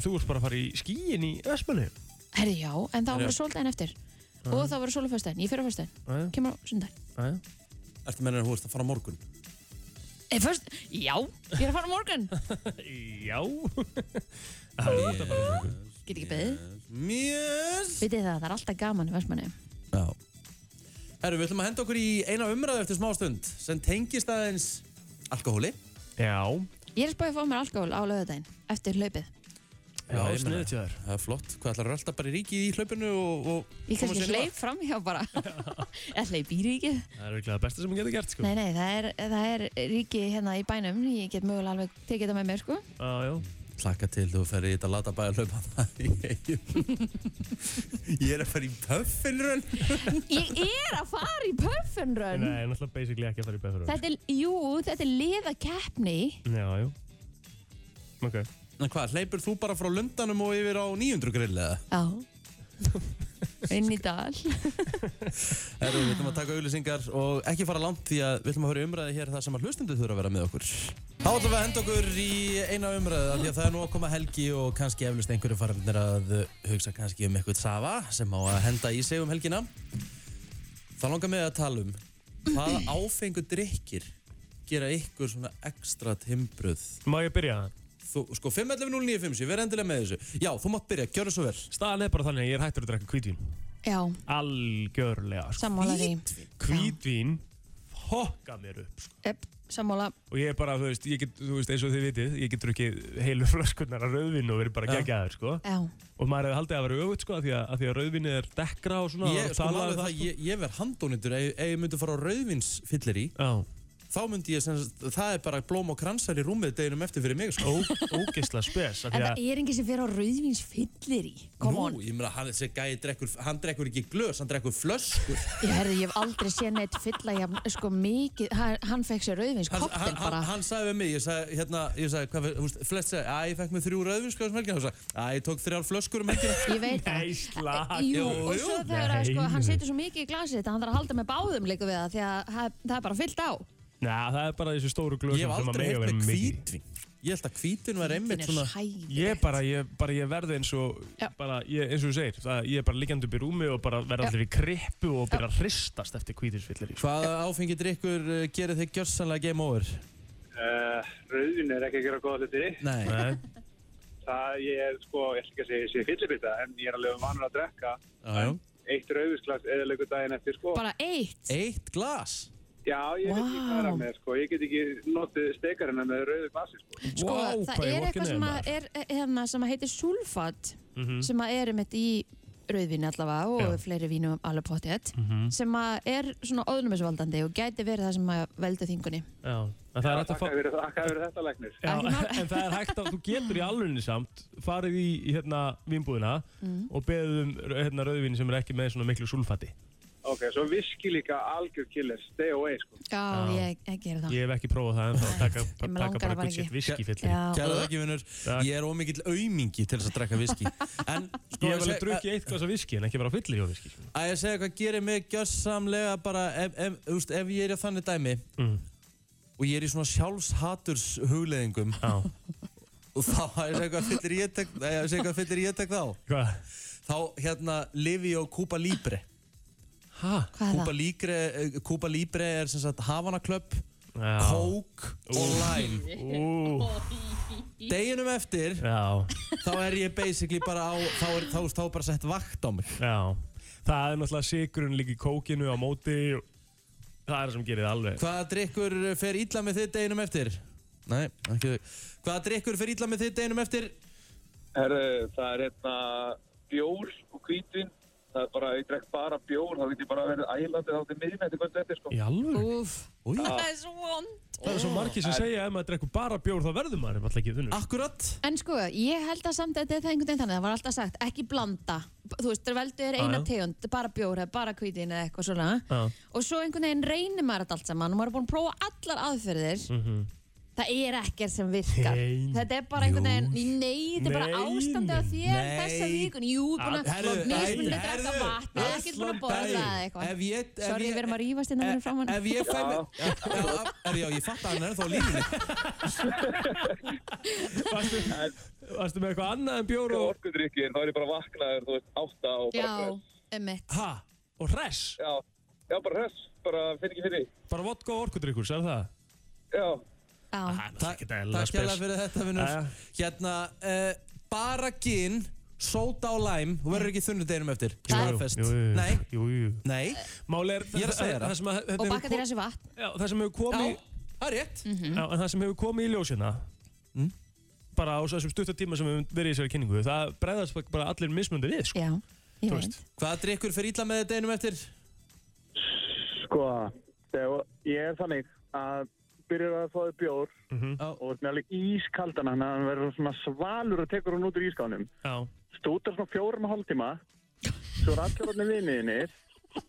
Speaker 3: þú ert bara að fara í skíin í Ösmölu?
Speaker 2: Herri, já, en þá
Speaker 1: Herri,
Speaker 2: verður sóldaginn eftir. Og þá verður sóluföstaginn, ég fyrir á föstaginn,
Speaker 3: Já, já,
Speaker 2: kemur á sundaginn.
Speaker 3: já.
Speaker 1: Ertu með henni að þú ert að fara á morgun?
Speaker 2: Eh, föst... Já, ég er að fara á morgun.
Speaker 3: Já. Það er út að fara.
Speaker 2: Get ekki beðið.
Speaker 1: Mjöss!
Speaker 2: Vitið þið það, það er alltaf gaman í versmanni.
Speaker 1: Já. Herru, við ætlum að henda okkur í eina umræðu eftir smá stund sem tengist aðeins alkohóli.
Speaker 3: Já.
Speaker 2: Ég er að spáði að fá mér alkohol á lögadaginn, eftir hlaupið.
Speaker 3: Já,
Speaker 1: ég meina-
Speaker 3: sniðugt hjá þér.
Speaker 1: Það er flott. Hvað ætlar að bara ríkið í hlaupinu og, og
Speaker 2: Ég kannski
Speaker 1: sér í
Speaker 2: hleyp fram hjá bara. Ég hleyp í ríkið.
Speaker 3: Það er virkilega það besta sem hún getur gert, sko.
Speaker 2: Nei, nei, það er, það er ríki hérna í bænum. Ég get mögulega alveg tekið það með mér, sko.
Speaker 3: Já, já.
Speaker 1: Plaka til þú ferði í þetta lata bæja hlaupa Ég er að fara í pöffinrönn
Speaker 2: Ég er að fara í puffinrun
Speaker 3: Nei, náttúrulega basically ekki að fara í beðfjörður.
Speaker 2: Þetta er, jú, þetta er liðakeppni
Speaker 3: Já, já. Ok.
Speaker 1: En hvað, hleypur þú bara frá lundanum og yfir á 900 grill eða?
Speaker 2: Já Inn í dal
Speaker 1: Herru, við ætlum að taka auðlýsingar og ekki fara langt því að við ætlum að fara í umræði hér þar sem að hlustundu þurfa að vera með okkur Þá ætlum við að henda okkur í eina umræðu af því að það er nú að koma helgi og kannski eflust einhverju farnir að hugsa kannski um eitthvað safa sem á að henda í sig um helgina Það langar mig að tala um hvaða áfengu drikkir gera ykkur svona ekstra timbruð
Speaker 3: Má ég byrja það?
Speaker 1: þú, sko 511957, verð endilega með þessu Já, þú mátt byrja, gjör það svo vel
Speaker 3: Staðan er bara þannig að ég er hættur að drekka hvítvín.
Speaker 2: Já,
Speaker 3: Algjörlega, sko.
Speaker 2: sammála því
Speaker 3: Hvítvín hokka mér upp, sko.
Speaker 2: Epp, sammála
Speaker 3: Og ég er bara, þú veist, ég get, þú veist, eins og þið vitið, ég get drukkið heilu flöskunnar af rauðvinn og verið bara
Speaker 1: Já.
Speaker 3: geggjaður, sko.
Speaker 2: Já,
Speaker 3: Og maður hefði haldið að vera öfugt, sko, af því að, að, því að rauðvinni er dekkra og svona.
Speaker 1: Ég,
Speaker 3: og
Speaker 1: sko,
Speaker 3: talað
Speaker 1: málið er
Speaker 3: um
Speaker 1: það, ég, ég verð handónindur ef, ef ég myndi fara á rauðvinsfyllir
Speaker 3: Já,
Speaker 1: þá myndi ég sem sagt, það er bara blóm og kransar í rúmið deginum eftir fyrir mig sko.
Speaker 3: ó, ógeðslega spes
Speaker 2: en
Speaker 3: af því
Speaker 2: það
Speaker 3: að,
Speaker 2: er enginn sem fyrir á rauðvins fyllir í Come on
Speaker 1: Nú, ég meina, hann þessi gæi drekkur, hann drekkur ekki glös, hann drekkur flöskur.
Speaker 2: Ég herði, ég hef aldrei séð neitt fylla ég, sko mikið, hann, hann fekk sér rauðvins
Speaker 1: Hann, hann,
Speaker 2: koktel
Speaker 1: hann,
Speaker 2: bara
Speaker 1: hann sagði við mig, ég sagði, hérna, ég sagði, hvað, þú veist, flest sagði, að ég fekk mig þrjú rauðvinskjóðum helgina, þú sagði, að ég tók þrjár flöskur um helgina.
Speaker 2: Ég veit það
Speaker 3: Nei, slak,
Speaker 2: Jú,
Speaker 3: jú,
Speaker 2: og
Speaker 3: jú.
Speaker 2: svo þegar að, sko,
Speaker 3: Nei.
Speaker 2: hann setur svo mikið í glasið þetta, hann þarf að halda með báðum líka við það því að það það er bara fyllt á
Speaker 3: Næ, það er bara þessu stóru
Speaker 1: Ég
Speaker 3: glösum
Speaker 1: hef
Speaker 3: sem að
Speaker 1: aldrei
Speaker 3: megi að
Speaker 1: heyrt
Speaker 3: vera
Speaker 1: með
Speaker 3: mikið.
Speaker 1: kvítvin. Ég held að kvítin var einmitt svona,
Speaker 3: Ég bara, ég, bara, ég verði eins og,
Speaker 2: Já.
Speaker 3: bara, ég, eins og þú segir, það, ég er bara liggjandi upp í rúmi og bara verði allir í krippu og byrja að hristast eftir kvítinsfyllir. Sko.
Speaker 1: hvaða áfengi drikkur uh, gerir þig gjörsanlega game over?
Speaker 4: Eh,
Speaker 6: Uh, Rauðin er ekki að gera góða hluti.
Speaker 1: Nei.
Speaker 3: Nei,
Speaker 6: Það ég er sko, ég ætla ekki að segja ég sé fyllibita, en ég er alveg vanur að drekka
Speaker 1: Jájá.
Speaker 6: eitt rauðisglas eða leikur daginn eftir sko.
Speaker 2: bara eitt
Speaker 1: Eitt glas?
Speaker 6: Já, ég veit ekki hvað er
Speaker 2: Vá.
Speaker 6: að með sko, ég get ekki notið stekarina með rauðu glasi sko.
Speaker 2: sko,
Speaker 3: Vá,
Speaker 2: það
Speaker 3: hvað ég
Speaker 2: er
Speaker 3: vorkenni
Speaker 2: eitthvað
Speaker 3: þér,
Speaker 2: sem,
Speaker 3: maður.
Speaker 2: að er, hérna, sem að heitir sulfat sem að er mitt í rauðvín allavega og
Speaker 3: Mhm. Já. Mhm.
Speaker 2: fleiri vínum alveg potið sem að er svona óðnumisvaldandi og gæti verið það sem að veldu þingunni
Speaker 3: já, en það er hægt að fá...
Speaker 6: Þakka fyrir, þakka fyrir þetta læknir.
Speaker 3: Já,
Speaker 2: Ekki mál.
Speaker 3: en það er hægt að þú getur í alvegni samt farið í, í hérna vinnbúðina
Speaker 2: Mm.
Speaker 3: og beðið um hérna, rauðvinni sem er ekki með svona miklu súlfatti.
Speaker 6: Ok, svo viski líka algjör killer, stay away sko.
Speaker 2: já,
Speaker 3: Já.
Speaker 2: ég, ég ger það
Speaker 3: Ég hef ekki prófað það en það taka,
Speaker 2: Ég mig
Speaker 3: taka
Speaker 2: langar bara
Speaker 3: bara
Speaker 2: ekki.
Speaker 3: gutt sitt viskifyllir.
Speaker 2: Já.
Speaker 1: Kæra það ekki, vinnur. Ég er ómikill aumingi til þess að drekka viski. En, sko,
Speaker 3: Ég hef alveg
Speaker 1: seg-
Speaker 3: drukkið eitt glas af viski en ekki bara fyllir hjá viski.
Speaker 1: að ég segja hvað gerir mig gjörsamlega bara ef, ef, úst, ef ég er í þannig dæmi
Speaker 3: Mm.
Speaker 1: og ég er í svona sjálfshaturs hugleðingum
Speaker 3: Já,
Speaker 1: og þá að ég segja hvað fyllir ég tek, að ég segja hvað fyllir ég tek þá
Speaker 3: hvað?
Speaker 1: þá hérna lifi ég á Kúpa Libre
Speaker 2: Hvað
Speaker 3: Hæ?
Speaker 2: er
Speaker 1: Kúpa
Speaker 2: það?
Speaker 1: Líbre, Kúpa Líbre eh, er sem sagt Havana Club,
Speaker 3: Já.
Speaker 1: Coke og Lime.
Speaker 3: Ú,
Speaker 1: Deginum eftir,
Speaker 3: já,
Speaker 1: þá er ég basically bara á, þá er þá, þá er bara sett vakt á mig.
Speaker 3: já. Það er náttúrulega sigurinn líka í kókinu á móti. Það er það sem gerir það alveg.
Speaker 1: Hvaða drikkur fer illa með þið deginum eftir? Nei, ekki þau. Hvaða drikkur fer illa með þið deginum eftir?
Speaker 6: Herru, það er hérna bjór og hvítvin. Það er bara, ég drekk bara bjór, þá get ég bara verið ælandi þá til miðnætti kvöldu eftir, sko.
Speaker 3: Í alveg?
Speaker 2: Úf,
Speaker 1: Új,
Speaker 3: Ah.
Speaker 2: það er svo vond
Speaker 3: Það er svo margir sem segja ef maður drekkur bara bjór þá verður maður alltaf ekki þunnur.
Speaker 1: akkurat.
Speaker 2: En sko, ég held að samt að þetta er það einhvern veginn þannig, það var alltaf sagt, ekki blanda. Þú veist, það veldu er eina
Speaker 3: já.
Speaker 2: tegund, bara bjór eða bara kvítin eða eitthvað svona.
Speaker 3: Já.
Speaker 2: Og svo einhvern veginn reynir maður þetta allt saman og maður er búin að prófa allar aðferðir.
Speaker 3: Mhm.
Speaker 2: Það er ekkert sem virkar.
Speaker 3: Nei.
Speaker 2: Þetta er bara einhvern veginn, nei, þetta er bara
Speaker 3: Nei,
Speaker 2: ástandi á þér
Speaker 1: nei.
Speaker 2: þessa vikun. Jú, búin að
Speaker 1: Herru,
Speaker 2: mismunni
Speaker 1: nei,
Speaker 2: að drekka
Speaker 1: herru,
Speaker 2: vatn, eða ekkert búin að borða
Speaker 1: Daginn.
Speaker 2: eða eitthvað.
Speaker 1: Ef ég, ef
Speaker 2: Sorry,
Speaker 1: ég-
Speaker 2: við erum að rífast innan fyrir framann.
Speaker 1: Ef ég fæ mig... Já, já, já, já, ég fatt að hann er þá lífinni.
Speaker 3: Varstu, varstu með eitthvað annað en bjór og...
Speaker 6: Orkudrykkir, Sko, þá er ég bara vaknaður, þú veist, átta og bara...
Speaker 2: Já, emmitt.
Speaker 3: Hæ? Og hress?
Speaker 6: Já, já, bara hress, bara finn ekki fyrir.
Speaker 3: Bara vodka og orkudrykkur, sér það?
Speaker 6: Já,
Speaker 2: Já,
Speaker 3: Ah, Það er ekki dæla
Speaker 1: Takk hérlega fyrir þetta,
Speaker 3: Jæja.
Speaker 1: vinnur. Hérna, eh, bara gin, sóta og læm, þú verður ekki þunnu deginum eftir. Staðfest.
Speaker 3: Jú, jú,
Speaker 1: Nei,
Speaker 3: jú, jú.
Speaker 1: nei,
Speaker 3: Máli er,
Speaker 1: Ég er að segja þér
Speaker 3: það sem að, þetta
Speaker 2: og
Speaker 3: hefur
Speaker 2: baka þér
Speaker 3: kom-
Speaker 2: þessu vatn. Mhm.
Speaker 3: já, það sem hefur
Speaker 1: já,
Speaker 3: komið,
Speaker 1: það er rétt.
Speaker 6: Mm.
Speaker 3: já, en það sem hefur komið í ljósina, bara á þessum stuttatíma sem við höfum verið í þessari kynningu, það bregðast bara allir mismundir við, sko.
Speaker 2: Já, ég
Speaker 3: Þú
Speaker 2: veit.
Speaker 3: veist.
Speaker 1: Hvaða drikkur fyrir illa með deginum eftir?
Speaker 4: Sko, þegar ég er þannig að byrjar að fá þér bjór
Speaker 3: Mhm.
Speaker 1: Já.
Speaker 4: og ert með alveg ískaldan hann að hann verður svona svalur og tekur hann út úr ískáðnum.
Speaker 3: Já.
Speaker 4: Stútar svona fjórum og hálftíma, svo er allir orðinni vinniðinir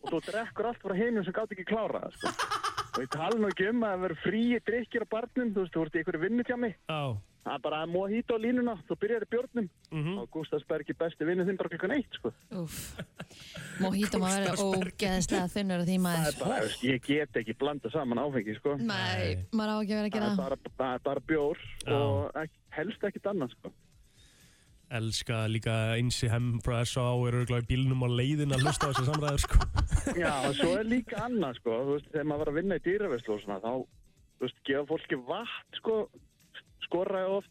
Speaker 4: og þú drekkur allt frá hinum sem gátt ekki klára það, sko. Og ég tala nú ekki um að það verður fríi drikkir á barnum, þú veist, þú ert í einhverju vinnutjámi.
Speaker 3: Já.
Speaker 4: Það er bara að móa hýta á línuna, þú byrjar í bjórnum
Speaker 3: Mhm.
Speaker 4: og Gustafsberg er besti vinnið þinn bara klukkan eitt, sko.
Speaker 2: Úff, Mojito maður verið ógeðslega þunnur að því
Speaker 4: Það er
Speaker 2: maður.
Speaker 4: bara, þú veist, ég get ekki blanda saman áfengi, sko.
Speaker 2: Nei, maður á ekki að vera að
Speaker 4: Það
Speaker 2: gera
Speaker 4: er
Speaker 2: það.
Speaker 4: bara, það er bara bjór
Speaker 3: Já.
Speaker 4: og ekki, helst ekkit annað sko.
Speaker 3: Elska líka einsi hempress á, er örgulega í bílnum á leiðin að hlusta á þessi samræður, sko.
Speaker 4: Já, og svo er líka annað sko, þú veist, þegar maður var að vinna í dýraveslu og svona, þá, þú veist, gefa fólki vatn sko, skoraði oft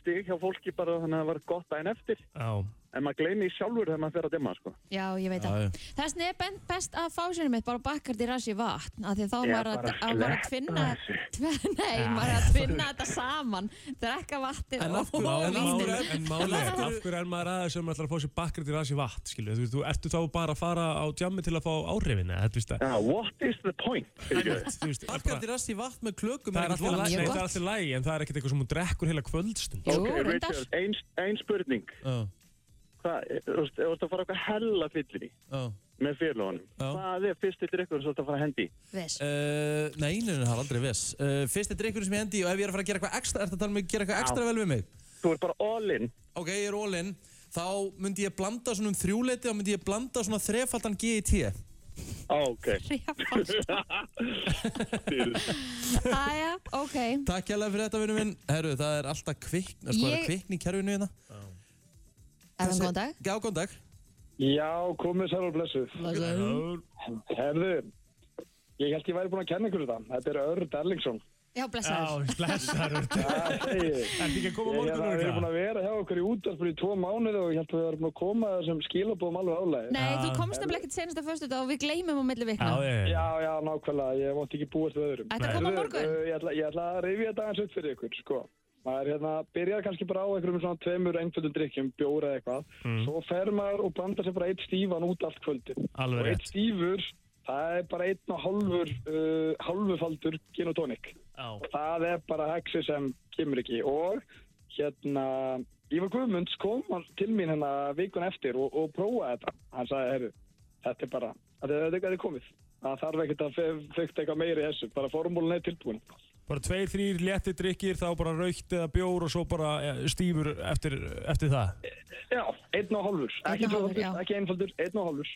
Speaker 4: stig hjá fólki bara þannig að það var gott daginn eftir,
Speaker 3: Já.
Speaker 4: en maður gleymi sjálfur þegar maður fer að dimma sko.
Speaker 2: Já, ég veit
Speaker 1: Já,
Speaker 2: það.
Speaker 1: já.
Speaker 2: Þess vegna er ben- best að fá sér mitt bara bakkar til rassi vatn, af því að þá
Speaker 4: Já,
Speaker 2: maður að,
Speaker 4: bara
Speaker 2: að, maður að
Speaker 4: sleppa
Speaker 2: tvinna,
Speaker 4: þessu.
Speaker 2: tve- nei, maður að tvinna þetta saman, drekka vatnið
Speaker 1: En af
Speaker 2: og
Speaker 1: hverju-
Speaker 3: En máli,
Speaker 1: af
Speaker 2: vínið.
Speaker 1: hverju-
Speaker 3: en máli,
Speaker 1: af hverju-
Speaker 3: af hverju er maður aðeins sem ætlar að fá sér bakkar til rasi vatn, skilju, þú veist, þú ertu þá bara að fara á djammi til að fá áhrifin, eða, þú veist,
Speaker 4: Já, what is the point? fyrirgefðu?
Speaker 3: þú veist,
Speaker 1: Bakkar til rassi vatn með klökum
Speaker 3: það er
Speaker 1: ekkert
Speaker 3: alltaf
Speaker 1: vont.
Speaker 3: lægi,
Speaker 2: Mjög
Speaker 3: það er
Speaker 2: gott.
Speaker 3: alltaf lægi, en það er ekkert eitthvað sem hún drekkur heila kvöldstund.
Speaker 2: Jú,
Speaker 4: Ok,
Speaker 2: reyndar.
Speaker 4: Richard, ein, ein spurning,
Speaker 1: Já,
Speaker 4: hvað, e, þú veist, ef þú ert að fara eitthvað hella fyllir í
Speaker 1: já.
Speaker 4: með félónum,
Speaker 1: Já.
Speaker 4: hvað er fyrsti drikkur sem þú ert að fara að hendi í?
Speaker 2: Viss.
Speaker 1: Uh, nei, nei, nei, það er aldrei viss. Uh, fyrsti drikkurinn sem ég hendi í og ef ég er að fara að gera eitthvað ekstra, ertu að tala um að gera eitthvað ekstra vel við mig?
Speaker 4: Þú ert bara all in,
Speaker 1: ok, ég er ólinn þá myndi ég blanda svona um þrjúleiti þá myndi ég blanda svona þrefaldan GIT
Speaker 4: Ah, ok,
Speaker 2: Þrefald. Æja, ok.
Speaker 1: Takk hérlega fyrir þetta, vinnu minn Herru, það er alltaf kvikn, sko, ég...
Speaker 2: Ég-
Speaker 1: kvikn í kerfinu hérna
Speaker 2: Efum góðan dag.
Speaker 1: Já, góðan dag
Speaker 7: Já, komið sér og blessuð. Herðu, ég held ég væri búin að kenna ykkur þetta. Þetta er Örd Erlingsson.
Speaker 2: Já, blessaður.
Speaker 3: Já, blessaður,
Speaker 7: Það segi ég.
Speaker 3: ertu ekki að koma á
Speaker 7: Ég hef verið búin
Speaker 3: morgun örugglega?
Speaker 7: að vera hjá okkur í útvarpur í tvo mánuði og ég held að við varum búin að koma þessum skilabóðum alveg álega.
Speaker 2: Nei, þú komst nefnilega ekkert senast að föstu þetta og við gleymum á milli vikna.
Speaker 3: Já, ég,
Speaker 7: Já, já, nákvæmlega, ég mátt ekki búast við öðrum.
Speaker 2: Ætti að koma á
Speaker 7: Heyrðu,
Speaker 2: morgun?
Speaker 7: uh, Ég ætla, ég ætla að rifja þetta aðeins upp fyrir ykkur, sko. Maður hérna, byrjar kannski bara á einhverjum svona tveimur einföldum drikkjum, bjóra eða eitthvað.
Speaker 3: Mm.
Speaker 7: Svo fer maður og blandar sér bara eitt stífan út allt kvöldin.
Speaker 3: Alveg
Speaker 7: og eitt
Speaker 3: rétt.
Speaker 7: stífur, það er bara einn og hálfur, uh, hálfufaldur gin og tónik.
Speaker 3: Já.
Speaker 7: Það er bara hexi sem kemur ekki. Og hérna, Ívar Guðmunds kom hann til mín hérna vikun eftir og, og prófaði þetta. Hann sagði, herru, þetta er bara, þetta er, þetta er komið. Það þarf ekkert að fyrta eitthvað meiri þessu, bara formúlun er tilbúin.
Speaker 3: Bara tveir, þrýr létti drikkir, þá bara raukt eða bjór og svo bara eh, stífur eftir, eftir það.
Speaker 7: Já, einn og hálfur.
Speaker 2: Einn og hálfur,
Speaker 7: Ekki, tvöfaldur,
Speaker 2: já.
Speaker 7: ekki einfaldur, einn og hálfur.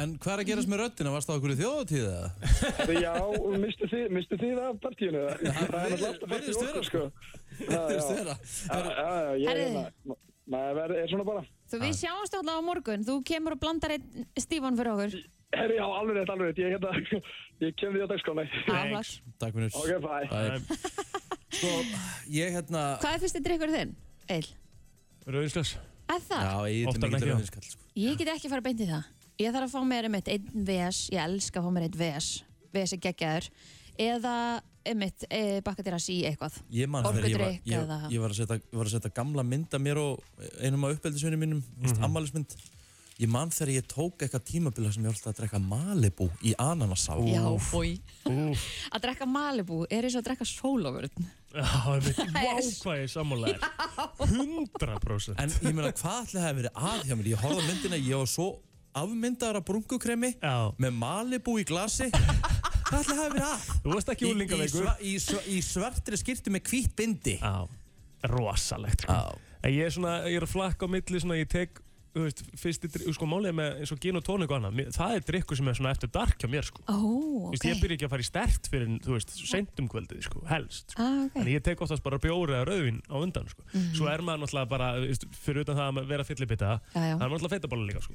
Speaker 1: En hvað er að gerast með röddina? Varst það okkur í þjóðatíð eða?
Speaker 7: Herru, já, og mistu þið, mistu þið af partíinu? Það er náttúrulega alltaf
Speaker 1: virðist
Speaker 7: partíu
Speaker 1: vera,
Speaker 7: okkur, sko. Það
Speaker 1: Þú veist þeirra?
Speaker 7: Já, já, já, ég
Speaker 2: Herðu.
Speaker 7: er hérna. Ma- Maður verð- er svona bara.
Speaker 2: Þú, við sjáumst alltaf á morgun. Þú kemur og blandar einn stífan fyrir okkur.
Speaker 7: Herri, já, alveg rétt, alveg rétt. Ég, hérna, ég kem því á dagskráni.
Speaker 2: Aflags.
Speaker 1: Takk minnur
Speaker 7: Ok, bye.
Speaker 1: Sko, ég hérna
Speaker 2: Hvað er fyrsti drikkur þinn, Eil?
Speaker 3: Rauðinsklas
Speaker 2: Er það?
Speaker 1: Já, ég er
Speaker 3: Oftar en
Speaker 1: mikið
Speaker 3: ekki, já.
Speaker 1: rauðinskall sko.
Speaker 2: Ég get ekki að fara beint í það. Ég þarf að fá mér einmitt einn VS, ég elska að fá mér einn VS, VS er geggjaður, eða einmitt e, bakkadýras í eitthvað.
Speaker 1: Ég man þegar ég var,
Speaker 2: Orkudrykk
Speaker 1: ég,
Speaker 2: eða-
Speaker 1: ég var, að setja, ég var að setja gamla mynd af mér og einum af uppeldisvinni mínum, mm
Speaker 3: Mhm.
Speaker 1: -hmm. ammælismynd. Ég man þegar ég tók eitthvað tímabila sem ég var alltaf að drekka Malibu í ananasá.
Speaker 2: Já, fói. Að drekka Malibu er eins og að drekka sólofurinn.
Speaker 3: Já, það er
Speaker 2: er-
Speaker 3: vákvæði sammálaðir 100%
Speaker 1: En ég meina, hvað ætli það hefði verið að hjá mér? Ég horfði á myndina, ég var svo afmyndaður af brungukremi
Speaker 3: Já.
Speaker 1: með Malibu í glasi. hvað ætli það hefði verið að?
Speaker 3: Þú varst ekki
Speaker 1: í,
Speaker 3: úlingaveikur
Speaker 1: sva, í, sva, í svartri skýrtu með hvítt bindi.
Speaker 3: Já, rosalegt sko. En ég er svona, ég er að flakka á milli svona, ég tek, þú veist, fyrsti dri- sko málið er með eins og gin og tónik og annað Mér- það er drikku sem er svona eftir dark hjá mér sko.
Speaker 2: Ó,
Speaker 3: Þú veist,
Speaker 2: ok.
Speaker 3: ég byrja ekki að fara í stert fyrir, þú veist, seintum kvöldið sko, helst sko.
Speaker 2: Ah,
Speaker 3: En
Speaker 2: ok. Mhm.
Speaker 3: ég tek oftast bara bjóri eða rauðin á undan sko. Svo er maður náttúrulega bara, þú veist, fyrir utan það að vera fyllibita
Speaker 2: Já, já.
Speaker 3: Það er maður náttúrulega feitabóla líka sko.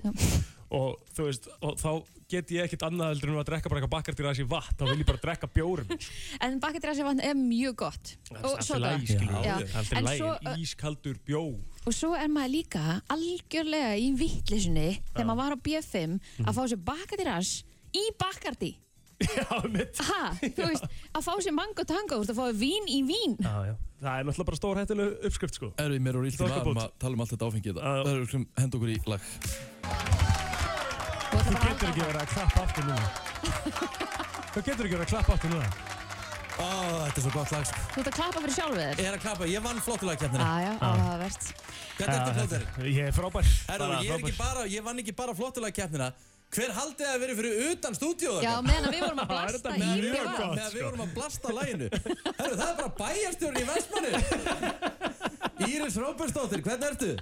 Speaker 3: Og þú veist, og þá get ég ekkit annað heldur en að drekka bara eitthvað bakkar til í vatn Þá vil ég bara drekka bjórum sko.
Speaker 2: En bakkadýras í vatn er mjög gott. Og
Speaker 3: Allt er
Speaker 2: soda.
Speaker 3: lægi, skilur
Speaker 2: Já.
Speaker 3: Allt er
Speaker 2: En
Speaker 3: lægi,
Speaker 2: svo,
Speaker 3: en ískaldur bjór
Speaker 2: Og svo er maður líka algjörlega í vittlisunni þegar maður var á B5 að fá sér bakkadýras í bakkardý.
Speaker 3: Já, mitt
Speaker 2: Ha, þú veist, að fá sér mango tango, þú veist, að fá vín í vín.
Speaker 3: Já, já Það er náttúrulega bara stór hættileg uppskrift sko
Speaker 1: Erum við mér og ílt í
Speaker 3: Þokkabót.
Speaker 1: varum að tala um allt þetta áfengið? Það
Speaker 3: Já.
Speaker 1: erum við hend okkur í lag.
Speaker 2: Þú ætlar
Speaker 3: Þú
Speaker 2: bara að
Speaker 3: getur
Speaker 2: halda
Speaker 3: ekki verið að klappa aftur núna Þú getur ekki verið að klappa aftur núna
Speaker 1: Ó, þetta er svo gott lag. sko.
Speaker 2: Þú ert að klappa fyrir sjálfu þér.
Speaker 1: Ég er að klappa, ég hérna. vann flottulegkjarnina.
Speaker 3: Ah,
Speaker 2: Aja, áhugavert.
Speaker 1: Hvernig ertu flottur?
Speaker 3: Ég er frábær
Speaker 1: Herru,
Speaker 3: Bara
Speaker 1: ég, er ekki
Speaker 3: frábær.
Speaker 1: bara, ég vann ekki bara flottulega keppnina Hver haldið að verið fyrir utan stúdíóð
Speaker 2: Já, meðan að við vorum að
Speaker 3: Það er
Speaker 2: blasta
Speaker 3: þetta
Speaker 2: í
Speaker 3: mjög
Speaker 2: mjög
Speaker 3: gott. sko.
Speaker 2: gott.
Speaker 1: Þegar við vorum að blasta læginu Herru, það er bara bæjarstjórn í Vestmannu Íris Róbersdóttir, hvernig ertu?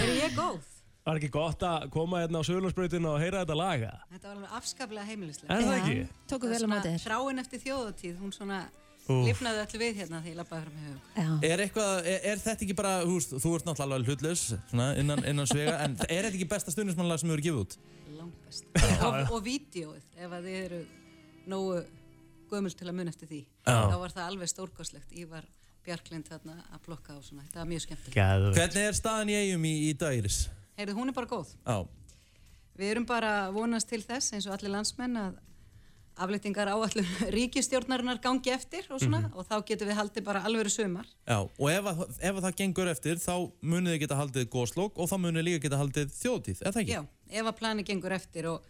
Speaker 8: Er ég góð?
Speaker 3: Var ekki gott að koma hérna á Söðurlandsbreytinu og heyra þetta laga?
Speaker 8: Þetta var alveg afskaplega heimilislega.
Speaker 3: Er það ekki?
Speaker 2: Tókuð vel á móti þér.
Speaker 8: Þráin eftir þjóðatíð, hún svona
Speaker 3: Úff.
Speaker 8: lifnaði öllu við hérna þegar ég lappaði fram í hugum.
Speaker 2: Já.
Speaker 1: Er, eitthvað, er, er þetta ekki bara, þú veist, þú ert náttúrulega alveg hlutlaus svona, innan, innan svega En er þetta ekki besta stundismannlag sem þú eru gefið út?
Speaker 8: Langt best. og, og vídeoið, ef að þið eru nógu gömul til að mun eftir því. Þá var það alveg stórkoslegt. Ég var Bjarklind þarna að blokka og svona. Þetta var mjög skemmtilegt.
Speaker 3: Gæðu
Speaker 1: Hvernig er staðan í eigum í, í dag, Íris?
Speaker 8: Heyrðu, hún er bara góð.
Speaker 1: Á,
Speaker 8: Við erum bara að vonast til þess, eins og allir landsmenn, að aflýtingar áallum ríkistjórnarinnar gangi eftir og svona,
Speaker 3: Mhm.
Speaker 8: og þá getum við haldið bara alvöru sumar.
Speaker 1: já, og ef, að, ef að það gengur eftir þá munið þið geta haldið góslokk og þá munið þið líka geta haldið þjóðtíð, er það ekki?
Speaker 8: Já, ef að plani gengur eftir og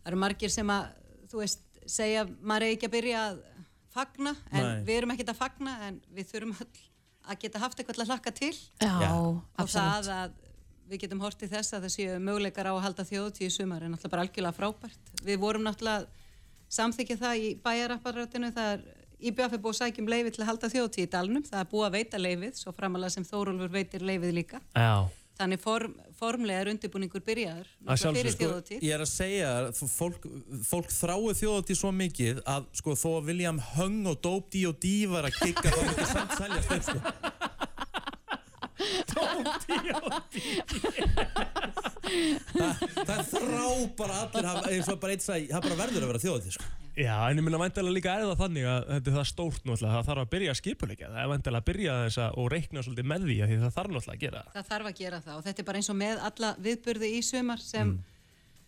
Speaker 8: það eru margir sem að, þú veist, segja að maður er ekki að byrja að fagna, en
Speaker 1: Nei.
Speaker 8: við erum ekkert að fagna, en við þurfum öll að geta haft eitthvað til að hlakka til
Speaker 2: Já,
Speaker 8: og það
Speaker 2: absolutt.
Speaker 8: að við getum hort í þess að það séu möguleikar á að halda þjóðutíð í sumar er náttúrulega bara algjörlega frábært. Við vorum náttúrulega að samþykja það í bæjarapparatinu, það er IBF er búið að sækja um leifi til að halda þjóðutíð í dalnum, það er búið að veita leifið, svo framalega sem Þórólfur veitir leifið líka.
Speaker 3: Já
Speaker 8: Þannig form, formlega er undirbúningur byrjaður
Speaker 3: Að
Speaker 8: náttúrulega
Speaker 3: sjálfsögðu,
Speaker 8: fyrir
Speaker 3: sko,
Speaker 8: þjóðutíð.
Speaker 1: Ég er að segja þér, þú- fólk, fólk þráu þjóðatíð svo mikið að sko þó að William Hung og Dope D og D var að kikka þá myndi samt seljast upp sko. Það, það þrá bara allir hafa, eins og bara eitt sæ, það bara verður að vera þjóðatíð sko.
Speaker 3: Já, en ég minna væntalega líka er það þannig að þetta er það stórt náttúrulega Það þarf að byrja að skipuleika Það er væntalega að byrja þess að og reikna svolítið með því af Því það þarf náttúrulega að gera það.
Speaker 8: Það þarf að gera það og þetta er bara eins og með alla viðburði í sumar sem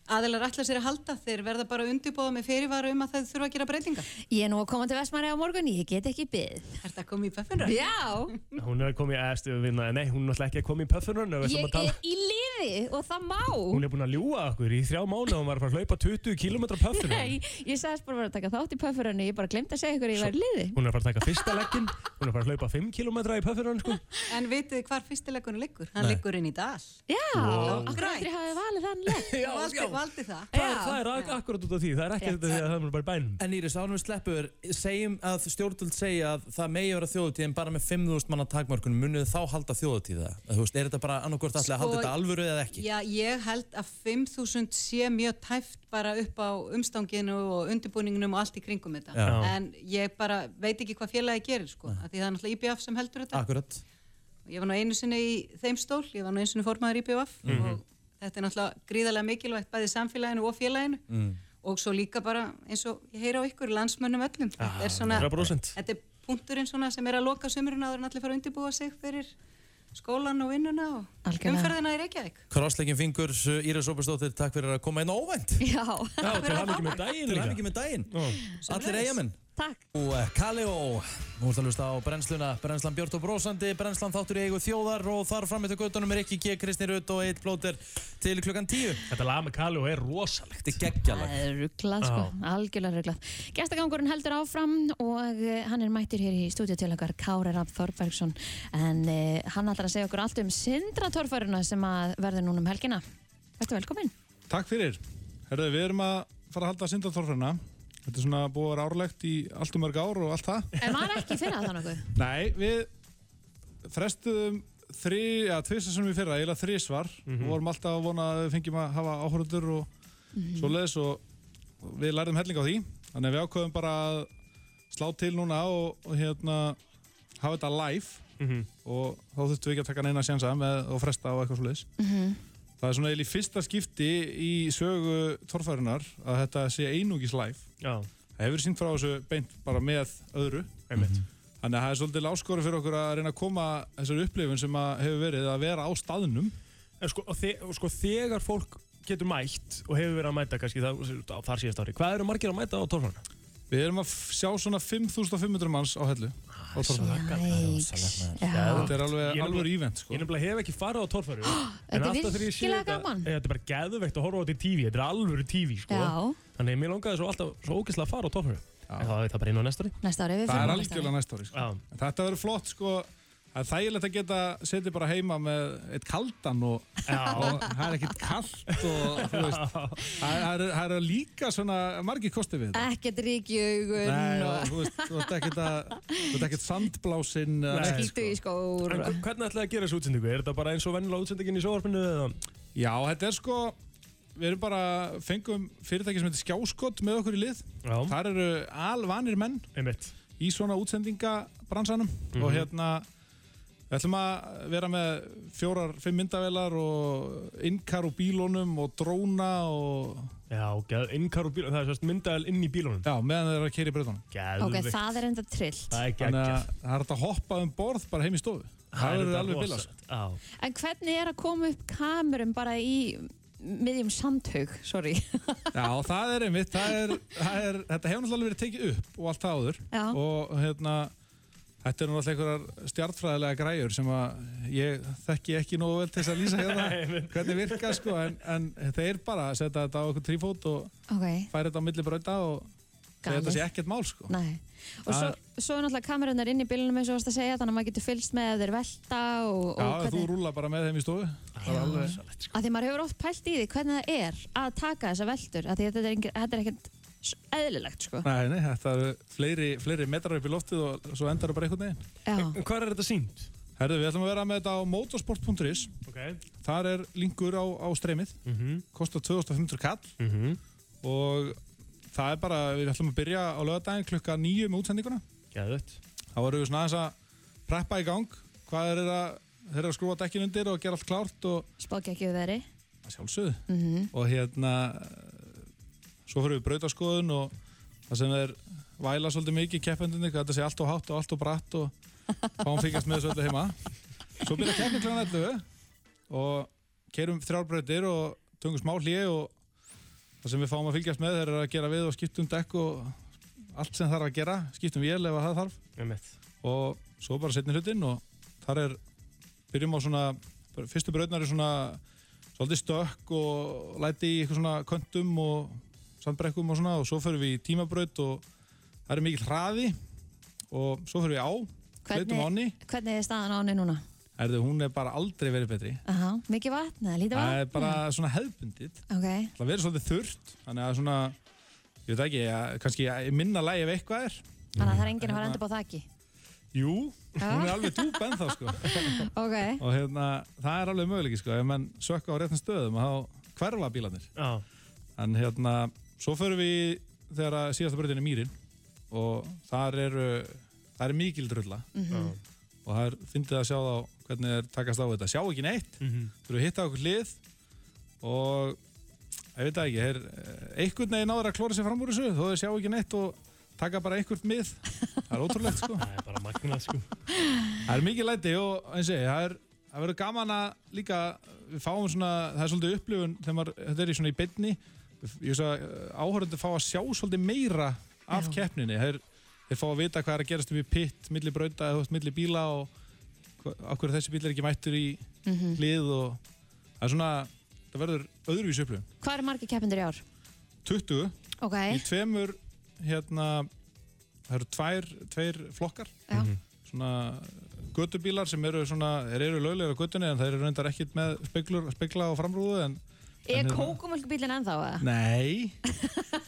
Speaker 3: Mm.
Speaker 8: aðeinar ætla sér að halda þeir verða bara undirbóða með fyrirvara um að það þurfa að gera breytinga.
Speaker 2: Ég er nú að koma til Vestmanni á morgun, ég get ekki byggð.
Speaker 8: Er þetta komið í böfnra?
Speaker 2: Já,
Speaker 3: Hún er komið í eftir við vinna Nei, hún er náttúrulega ekki að koma í pöffunum
Speaker 2: ég er í liði og það má.
Speaker 3: Hún er búin að ljúa okkur í þrjá mánu og hún var bara að hlaupa 20 km pöffunum
Speaker 2: Nei, ég sagðist bara að vera að taka þátt í pöffurunni, ég bara glemt að segja ykkur að ég var í liði.
Speaker 3: Hún er að fara að taka fyrsta legginn, hún er að fara að hlaupa 5 km í pöffunum sko.
Speaker 8: En vitið þið hvar fyrstilegunum liggur? Hann liggur inn í dal.
Speaker 2: Já,
Speaker 3: Wow.
Speaker 2: okkur
Speaker 8: Grænt.
Speaker 2: aldrei hafið valið þann leik.
Speaker 8: Já, valdi, valdi það.
Speaker 3: Það er, það er ak akkurat út af því, það er ekki þetta því að það er bara í bænum.
Speaker 1: En Íris, ánum við sleppur, segjum að stjórnvöld segja að það megi vera þjóðatíð en bara með 5.000 manna takmörkunum munið þið þá halda þjóðatíð það? Þú veist, er þetta bara annarkvort allir að halda
Speaker 8: Sko,
Speaker 1: þetta alvöru eða ekki?
Speaker 8: Já, ég held að 5.000 sé mjög tæft bara upp á umstanginu og undirbúningunum og allt í kringum þetta.
Speaker 3: Já.
Speaker 8: En ég bara veit ekki hvað félagi gerir, sko. af Því það er náttúrulega IBF sem heldur þetta.
Speaker 1: Akkurat.
Speaker 3: Mhm.
Speaker 1: Mhm.
Speaker 8: Ég var nú einu sinni í þeim stól, ég var nú einu sinni formaður IBF og Þetta er náttúrulega gríðarlega mikilvægt bæði samfélaginu og félaginu
Speaker 9: Mm.
Speaker 8: og svo líka bara eins og ég heyra á ykkur landsmönnum öllum.
Speaker 1: Ah,
Speaker 8: þetta er svona,
Speaker 3: 100%.
Speaker 8: þetta er punkturinn svona sem er að loka sömurinn áður en allir fara að undirbúa sig fyrir skólan og vinnuna og
Speaker 2: Algjörlega.
Speaker 8: umferðina í Reykjavík.
Speaker 9: Krossleikin fingur, Íris Óbjörnsdóttir, takk fyrir að koma einn óvænt.
Speaker 2: Já,
Speaker 3: Já, til hamingi með daginn
Speaker 9: Til
Speaker 3: líka.
Speaker 9: hann með daginn. Allir eigamenn.
Speaker 2: takk
Speaker 9: Og eh, Kaleo, nú ert að hlusta á brennsluna, brennslan Björn og Brósandi, brennslan þáttur í eigu þjóðar og þar fram eftir göttunum er ekki G. Kristi Rutt og Eitt Blóter til klukkan 10.
Speaker 3: Þetta lag með Kali og er rosalegt.
Speaker 9: Þetta er geggjalag.
Speaker 2: Það er rugglað sko, algjörlega rugglað. Gestagangurinn heldur áfram og eh, hann er mættur hér í stúdíu til okkar Kári Rapp Þorbergsson en uh, hann ætlar að segja okkur allt um syndratorfæruna sem að verður núna um helgina. Þetta velkomin.
Speaker 10: Takk fyrir. Herðu, við erum að fara að halda syndatorfruna. Þetta er svona búið að vera árlegt í allt um mörg ár og allt það.
Speaker 2: En maður ekki fyrir að það nokkuð.
Speaker 10: Nei, við frestuðum þri, ja, tvisar sem við fyrra, eiginlega þrísvar og vorum alltaf að vona að við fengjum að hafa áhörður og
Speaker 2: Mhm.
Speaker 3: Mhm.
Speaker 10: svoleiðis og og við lærðum helling á því. Þannig að við ákveðum bara að slá til núna og, og hérna hafa þetta live og þá þurftum við ekki að taka neina sjansa með og fresta og eitthvað svoleiðis. Það er svona eiginlega í fyrsta skipti í sögu torfærinar að þetta sé einungis live.
Speaker 3: Já,
Speaker 10: Það hefur sínt frá þessu beint bara með öðru. Mhm.
Speaker 3: einmitt.
Speaker 10: Þannig að það er svolítið láskóri fyrir okkur að reyna að koma þessari upplifun sem að hefur verið að vera á staðnum.
Speaker 3: En sko, og, þe og sko þegar fólk getur mætt og hefur verið að mæta kannski það, á þar síðast ári, hvað eru margir að mæta á torfana?
Speaker 10: Við erum að f- sjá svona 5.500 manns á hellu.
Speaker 2: Ah,
Speaker 10: Á torfæru.
Speaker 2: Jæks.
Speaker 10: Þetta er
Speaker 3: Ég
Speaker 10: alveg
Speaker 3: er
Speaker 10: alveg ívent sko.
Speaker 3: Ég nefnilega hef ekki farið á torfæru en
Speaker 2: Ah, þetta er
Speaker 3: alltaf þegar ég sé
Speaker 2: virkilega
Speaker 3: þetta,
Speaker 2: gaman.
Speaker 3: eh, þetta er bara geðveikt að horfa á þetta í tífi, þetta er alvöru tífi sko.
Speaker 2: Já,
Speaker 3: Þannig að mér langaði svo alltaf svo ógeðslega að fara á torfæru En þá er það bara inn á næstari
Speaker 2: næsta ári við förum
Speaker 10: Það er
Speaker 2: á næsta
Speaker 10: algjörlega næsta ári sko.
Speaker 3: Já,
Speaker 10: En Þetta verður flott sko. Það er þægilegt að geta setið bara heima með eitt kaldan og, og það er ekkert kalt og þú veist, það er- það er, það er líka svona margir kostið við þetta.
Speaker 2: ári. Ekkert ríkjögun
Speaker 10: Nei, og
Speaker 2: og
Speaker 10: þú veist, þú ert ekkert að, þú ert ekkert sandblásinn. eða
Speaker 3: Nei.
Speaker 10: neitt,
Speaker 2: skýtu í skór.
Speaker 3: en hver- hvernig ætlaði að gera þessu útsendingu? Er þetta bara eins og vennilega útsendingin í sjóvarpinu? eða?
Speaker 10: Já, þetta er sko Við erum bara, fengum fyrirtæki sem heitir Skjáskott með okkur í lið.
Speaker 3: Já,
Speaker 10: Þar eru alvanir menn
Speaker 3: einmitt Mhm.
Speaker 10: í svona útsendingabransanum og hérna við ætlum að vera með fjórar, fimm myndavelar og innkar úr bílunum og dróna og
Speaker 3: Já, geð, innkar úr bílunum, það er sérst myndaðal inn í bílunum
Speaker 10: já, meðan þeir eru að keira í breytunum.
Speaker 2: Ok,
Speaker 3: Geðveikt
Speaker 2: það er enda trillt.
Speaker 3: Það er ekki
Speaker 10: Þannig að það er hægt að hoppa um borð bara heim í stofu. Það verður alveg bilast.
Speaker 3: Já,
Speaker 2: En hvernig er að koma upp kamerum bara í miðjum sandhaug, sorry.
Speaker 10: Já, það er einmitt, það er, það er, þetta hefur náttúrulega verið tekið upp og allt það áður
Speaker 2: Já.
Speaker 10: og hérna, þetta er náttúrulega einhverjar stjartfræðilega græjur sem að ég þekki ekki nógu vel til þess að lýsa hérna hvernig virka sko, en, en þeir bara setja þetta á okkur trífót og
Speaker 2: Ok,
Speaker 10: færa þetta á milli brauta og segja
Speaker 2: Galið.
Speaker 10: þetta sé ekkert mál sko.
Speaker 2: Nei, og svo, svo er náttúrulega kamerunar inn í bílunum eins og varst að segja þannig að maður getur fylgst með ef þeir velta og,
Speaker 10: Já,
Speaker 2: og
Speaker 10: þú
Speaker 2: hvernig,
Speaker 10: rúla bara með þeim í stofu. Það er alveg...
Speaker 2: að því maður hefur oft pælt í því hvernig það er að taka þessa veltur að því að þetta er, engin, þetta er ekkert s- eðlilegt sko.
Speaker 10: Nei, nei, þetta eru fleiri, fleiri metrar upp í loftið og svo endar það bara einhvern veginn.
Speaker 2: Já,
Speaker 3: en hvað er þetta sínt?
Speaker 10: Herðu, við ætlum að vera með þetta á motorsport.is.
Speaker 3: Ok
Speaker 10: Þar er linkur á, á streymið.
Speaker 3: Mhm,
Speaker 10: kostar 2500 kall
Speaker 3: mhm,
Speaker 10: og það er bara, við ætlum að byrja á lögadaginn klukka nýju með útsendinguna
Speaker 3: geðveikt
Speaker 10: þá erum við svona aðeins að preppa í gang hvað þeir eru að, þeir eru að skrúa dekkin undir og gera allt klárt og
Speaker 2: spákja ekki við veri
Speaker 10: að sjálfsögðu
Speaker 2: mm
Speaker 10: og hérna svo fyrir við brautaskoðun og það sem þeir væla svolítið mikið keppendunni, hvað þetta sé allt og hátt og allt og bratt og fáum fíkast með þessu öllu heima svo byrja keppin klána 11 og kerum þrjár brautir og tungum smá hlið og það sem við fáum að fylgjast með þeir eru að gera við og skiptum dekk og allt sem þarf að gera, skiptum vél ef að það þarf
Speaker 3: Einmitt
Speaker 10: og svo bara setni hlutinn og þar er, byrjum á svona bara fyrstu brautnar er svona svolítið stökk og læti í eitthvað svona köntum og sandbrekkum og svona og svo fyrir við í tímabraut og það er mikil hraði og svo fyrir við á, hlutum
Speaker 2: hvernig,
Speaker 10: áni
Speaker 2: hvernig er staðan á henni núna?
Speaker 10: erðu hún er bara aldrei verið betri
Speaker 2: Aha, mikið vatn eða lítið
Speaker 10: það er
Speaker 2: vatn?
Speaker 10: bara svona hefbundið
Speaker 2: Ok,
Speaker 10: það verið svolítið þurrt þannig að svona, ég veit ekki að, kannski að minna lægi ef eitthvað er
Speaker 2: þannig að það er enginn að fara enda á þakki
Speaker 10: jú, hún er
Speaker 2: Já,
Speaker 10: alveg dúb ennþá sko
Speaker 2: ok,
Speaker 10: og hérna, það er alveg möguleiki sko, ef mann sökka á réttin stöðum þá hverfa bílarnir
Speaker 3: Já,
Speaker 10: en hérna, svo förum við í- þegar að síðasta breytin er mýrin og þar eru það er mikil drulla
Speaker 1: Mhm.
Speaker 3: já
Speaker 10: og það er fyndið að sjá þá hvernig þeir takast á við þetta sjá ekki neitt,
Speaker 3: mhm.
Speaker 10: þurfum að hitta okkur hlið og ég veit það ekki, þeir eh, einhvern veginn náður að klóra sér fram úr þessu þó þau sjá ekki neitt og taka bara einhvert mið það er ótrúlegt sko það
Speaker 11: er bara magnað sko
Speaker 10: það er mikið læti og eins og ég segi, það er það verður gaman að líka við fáum svona, það er svolítið upplifun þegar maður, þetta er í svona í beinni ég veist að áhörðandi fá að sjá svolítið meira af keppninni þeir, þeir fá að vita hvað er að gerast upp í pitt milli brauta, eða þú veist, milli bíla og hva- af hverju þessi bíl er ekki mættur í
Speaker 2: Mhm.
Speaker 10: lið og það er svona, það verður öðruvísu upplifun
Speaker 2: Hvað eru margir keppindur í ár?
Speaker 10: 20
Speaker 2: Ok,
Speaker 10: í tveimur hérna það eru tvær, tveir flokkar
Speaker 2: Já.
Speaker 11: Mhm.
Speaker 10: svona gödubílar sem eru svona, þeir eru löglegur á gödunni en þeir eru reyndar ekkit með speglur, spegla og framrúðu en
Speaker 2: er
Speaker 10: hérna-
Speaker 2: kókumölkubílinn ennþá að?
Speaker 10: Nei,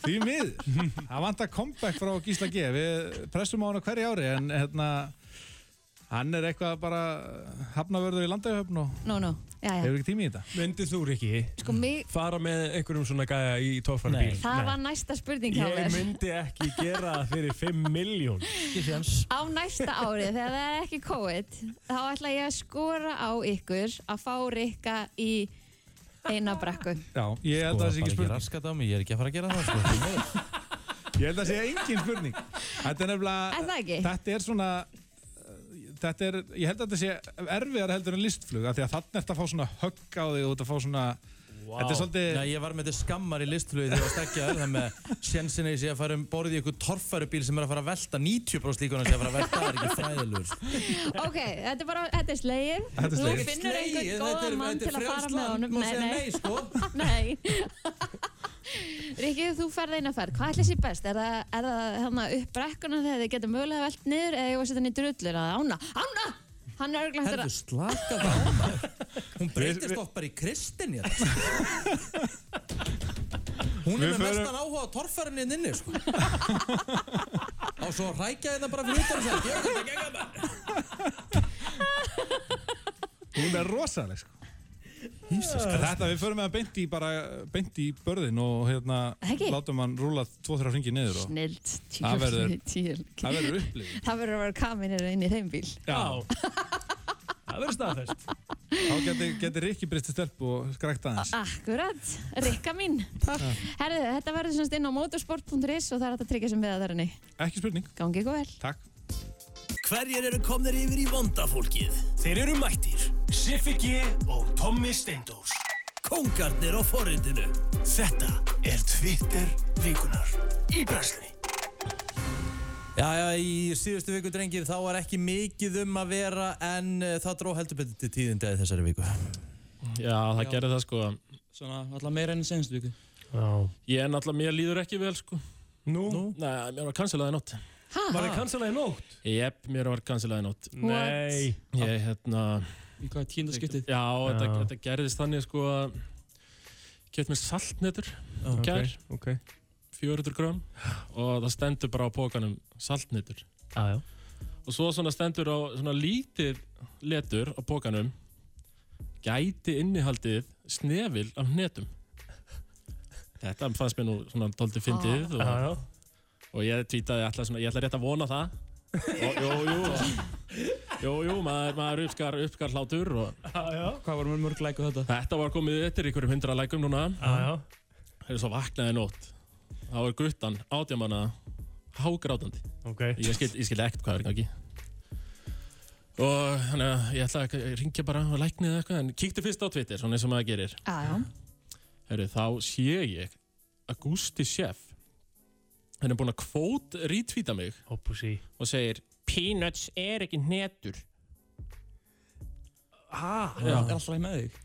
Speaker 10: því miður Það vantar comeback frá Gísla G Við pressum á hann á hverju ári en hérna hann er eitthvað bara hafnavörður í landægahöfn og
Speaker 2: Nú, nú, já, já
Speaker 10: hefur ekki tími í þetta
Speaker 11: Myndið þú, Rikki,
Speaker 2: Sko, mig,
Speaker 11: fara með einhverjum svona gæja í tófarabíl?
Speaker 2: það var næsta spurning hjá
Speaker 11: Ég
Speaker 2: mér
Speaker 11: myndi ekki gera það fyrir 5 miljón. Ekki séns.
Speaker 2: Á næsta ári, þegar það er ekki COVID þá ætla ég að skora á ykkur að fá Rikka í eina brekku
Speaker 10: Já, ég held að það sé ekki
Speaker 1: Sko, Bara
Speaker 10: spurning
Speaker 1: ekki raskat á mig, ég er ekki að fara að gera það sko. því miður.
Speaker 10: Ég held að sé engin spurning Þetta er nefnilega
Speaker 2: Er það ekki?
Speaker 10: Þetta er svona eh, Þetta er, ég held að þetta sé erfiðar heldur en listflug af því að þannig ert að fá svona högg á þig og þetta fá svona Þetta er svolítið
Speaker 1: Nei, ég var með þetta skammar í listflugi þegar ég var stekkjaður þannig að sjensinni sé að fara um borðið í einhver torfærubíl sem er að fara að velta 90% líkunar sem er að fara að velta, það er ekki fræðilegur sko.
Speaker 2: Ok, þetta er bara, þetta er slegið
Speaker 1: Þetta er slegið.
Speaker 2: Þú finnur
Speaker 1: Slegið,
Speaker 2: einhvern
Speaker 1: þetta er-
Speaker 2: góðan mann
Speaker 1: þetta
Speaker 2: til
Speaker 1: er
Speaker 2: að fara
Speaker 1: frjálst
Speaker 2: með
Speaker 1: land,
Speaker 2: honum
Speaker 1: má segja nei, sko.
Speaker 2: nei Rikki, þú ferð eina ferð, hvað ætlis ég best? Er það, er það hérna upp brekkuna þegar þið getur mögulega velt niður eða ég var að setja hann í drullur að ána, ána! Hann er örglega
Speaker 1: Herðu, slaka það á maður. Hún breytist oft bara í kristin ég Hún
Speaker 10: Við
Speaker 1: er með
Speaker 10: förum-
Speaker 1: mestan áhuga á torfærinni inni, sko. Á svo að rækja þetta bara fyrir utan og segja, ég er þetta gegga maður.
Speaker 10: Hún er rosaleg sko En Þetta við förum með hann beint í bara beint í börðin og hérna
Speaker 2: Ekki?
Speaker 10: látum hann rúla 2-3 ringi niður og
Speaker 2: Snilt,
Speaker 10: Það verður-
Speaker 2: tjúl
Speaker 10: það verður upplifun.
Speaker 2: Það verður að vera kaminir inn í þeim bíl
Speaker 10: Já
Speaker 11: Það verður staðfest
Speaker 10: Þá getur geti Rikki breytið stelp og skrækt
Speaker 2: Ah,
Speaker 10: aðeins
Speaker 2: Akkurat, Rikka mín Herðu, þetta verður semst inn á motorsport.is og það er hægt að tryggja sem við að það er henni
Speaker 10: Ekki spurning
Speaker 2: Gangi ykkur vel
Speaker 10: Takk
Speaker 3: Hverjir eru komnir yfir í vondafólkið? Þeir eru mættir Siffi G og Tommi Steindós Kongarnir á forundinu Þetta er Twitter vikunar Í brensli
Speaker 1: Já, já, í síðustu viku, drengir, þá var ekki mikið um að vera en uh, það dró heldur betur til tíðindi í þessari viku.
Speaker 12: Já, það
Speaker 1: Já.
Speaker 12: gerði það sko Svona, alltaf meira enn í senstu viku
Speaker 11: Já.
Speaker 12: Ég er náttúrulega, mér líður ekki vel sko
Speaker 11: Nú?
Speaker 12: Nei, mér var kansalaði nótt
Speaker 11: Var þið kansalað í nótt?
Speaker 12: Jep, mér var kansalaði nótt
Speaker 11: Nei.
Speaker 12: Ég, hérna Í hvað, tíndaskiptið? Já, Þetta,
Speaker 11: Já.
Speaker 12: þetta gerðist þannig sko að Kjöpt mér saltnetur
Speaker 11: Ok,
Speaker 12: Gær
Speaker 11: ok.
Speaker 12: 400 gram Og það stendur bara á pókanum saltnetur
Speaker 11: Já, já
Speaker 12: Og svo svona stendur á svona lítið letur á pókanum Gæti innihaldið snefil af hnetum Þetta fannst mér nú svona tóldi fyndið
Speaker 11: Ah. Já, já.
Speaker 12: og, og ég tvítaði alltaf svona, ég ætla rétt að vona það og, Jú, jú Jú, jú, maður, maður uppskar, uppskar hlátur og...
Speaker 11: Já, já.
Speaker 12: Hvað var mörg læk á þetta? Þetta var komið eftir ykkur um hundra lækum núna
Speaker 11: Já, já.
Speaker 12: Hefur svo vaknaði í nótt Það var guttan, átjamanna Hágrátandi
Speaker 11: Ok.
Speaker 12: Ég skildi skil ekkert hvað er í gangi Og þannig að ég ætlaði að ringja bara og lækni eða eitthvað En kíkti fyrst á Twitter, svona eins og maður gerir
Speaker 2: Já,
Speaker 12: Herru, þá sé ég að Gusti Sjeff Hann er búinn að kvót retweeta mig
Speaker 11: Hoppusi
Speaker 12: Og segir Peanuts er ekki hnetur
Speaker 11: Ha?
Speaker 12: Já.
Speaker 11: Er
Speaker 12: alltaf með þig?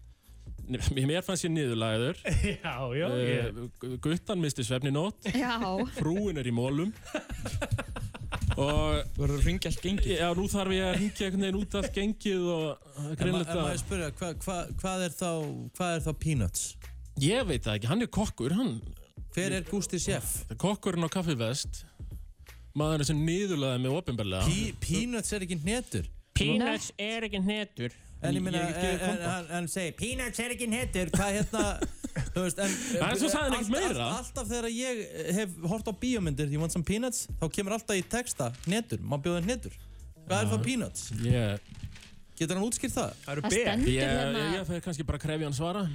Speaker 12: Mér fannst ég niðurlæður
Speaker 11: Já, já, ég-
Speaker 12: Guttan misti svefni nótt
Speaker 2: Já.
Speaker 12: Frúin er í mólum Og Þú verður að ringja allt gengið Já, nú þarf ég að ringja einhvern veginn út allt gengið og
Speaker 1: En ma-
Speaker 12: greinleita
Speaker 1: en maður spyrja, hva, hva, hvað, er þá, hvað er þá peanuts?
Speaker 12: Ég veit það ekki, hann er kokkur hann...
Speaker 1: Hver er Gústi Sjeff?
Speaker 12: Kokkurinn á kaffivest Maðurinn sem niðurlæði mig ofinbarlega
Speaker 1: Pe peanuts er ekki hnetur?
Speaker 12: Peanuts er ekki hnetur
Speaker 1: En ég meina,
Speaker 12: Ég get gefið
Speaker 1: en- en
Speaker 12: kontra.
Speaker 1: hann- hann segir Peanuts er ekki hnetur, hvað hérna Þú veist, en
Speaker 12: En svo sagði hann
Speaker 1: allt-
Speaker 12: ekkert meira.
Speaker 1: allt- Alltaf þegar ég hef hort á bíómyndir You want some peanuts? Þá kemur alltaf í texta Hnetur, má bjóða hnetur Hvað er þá peanuts?
Speaker 12: Ég
Speaker 1: Getur hann útskýrt það?
Speaker 3: Það
Speaker 12: eru Það ber. stendur hérna-
Speaker 11: Ég fer kannski bara að krefja hann svara.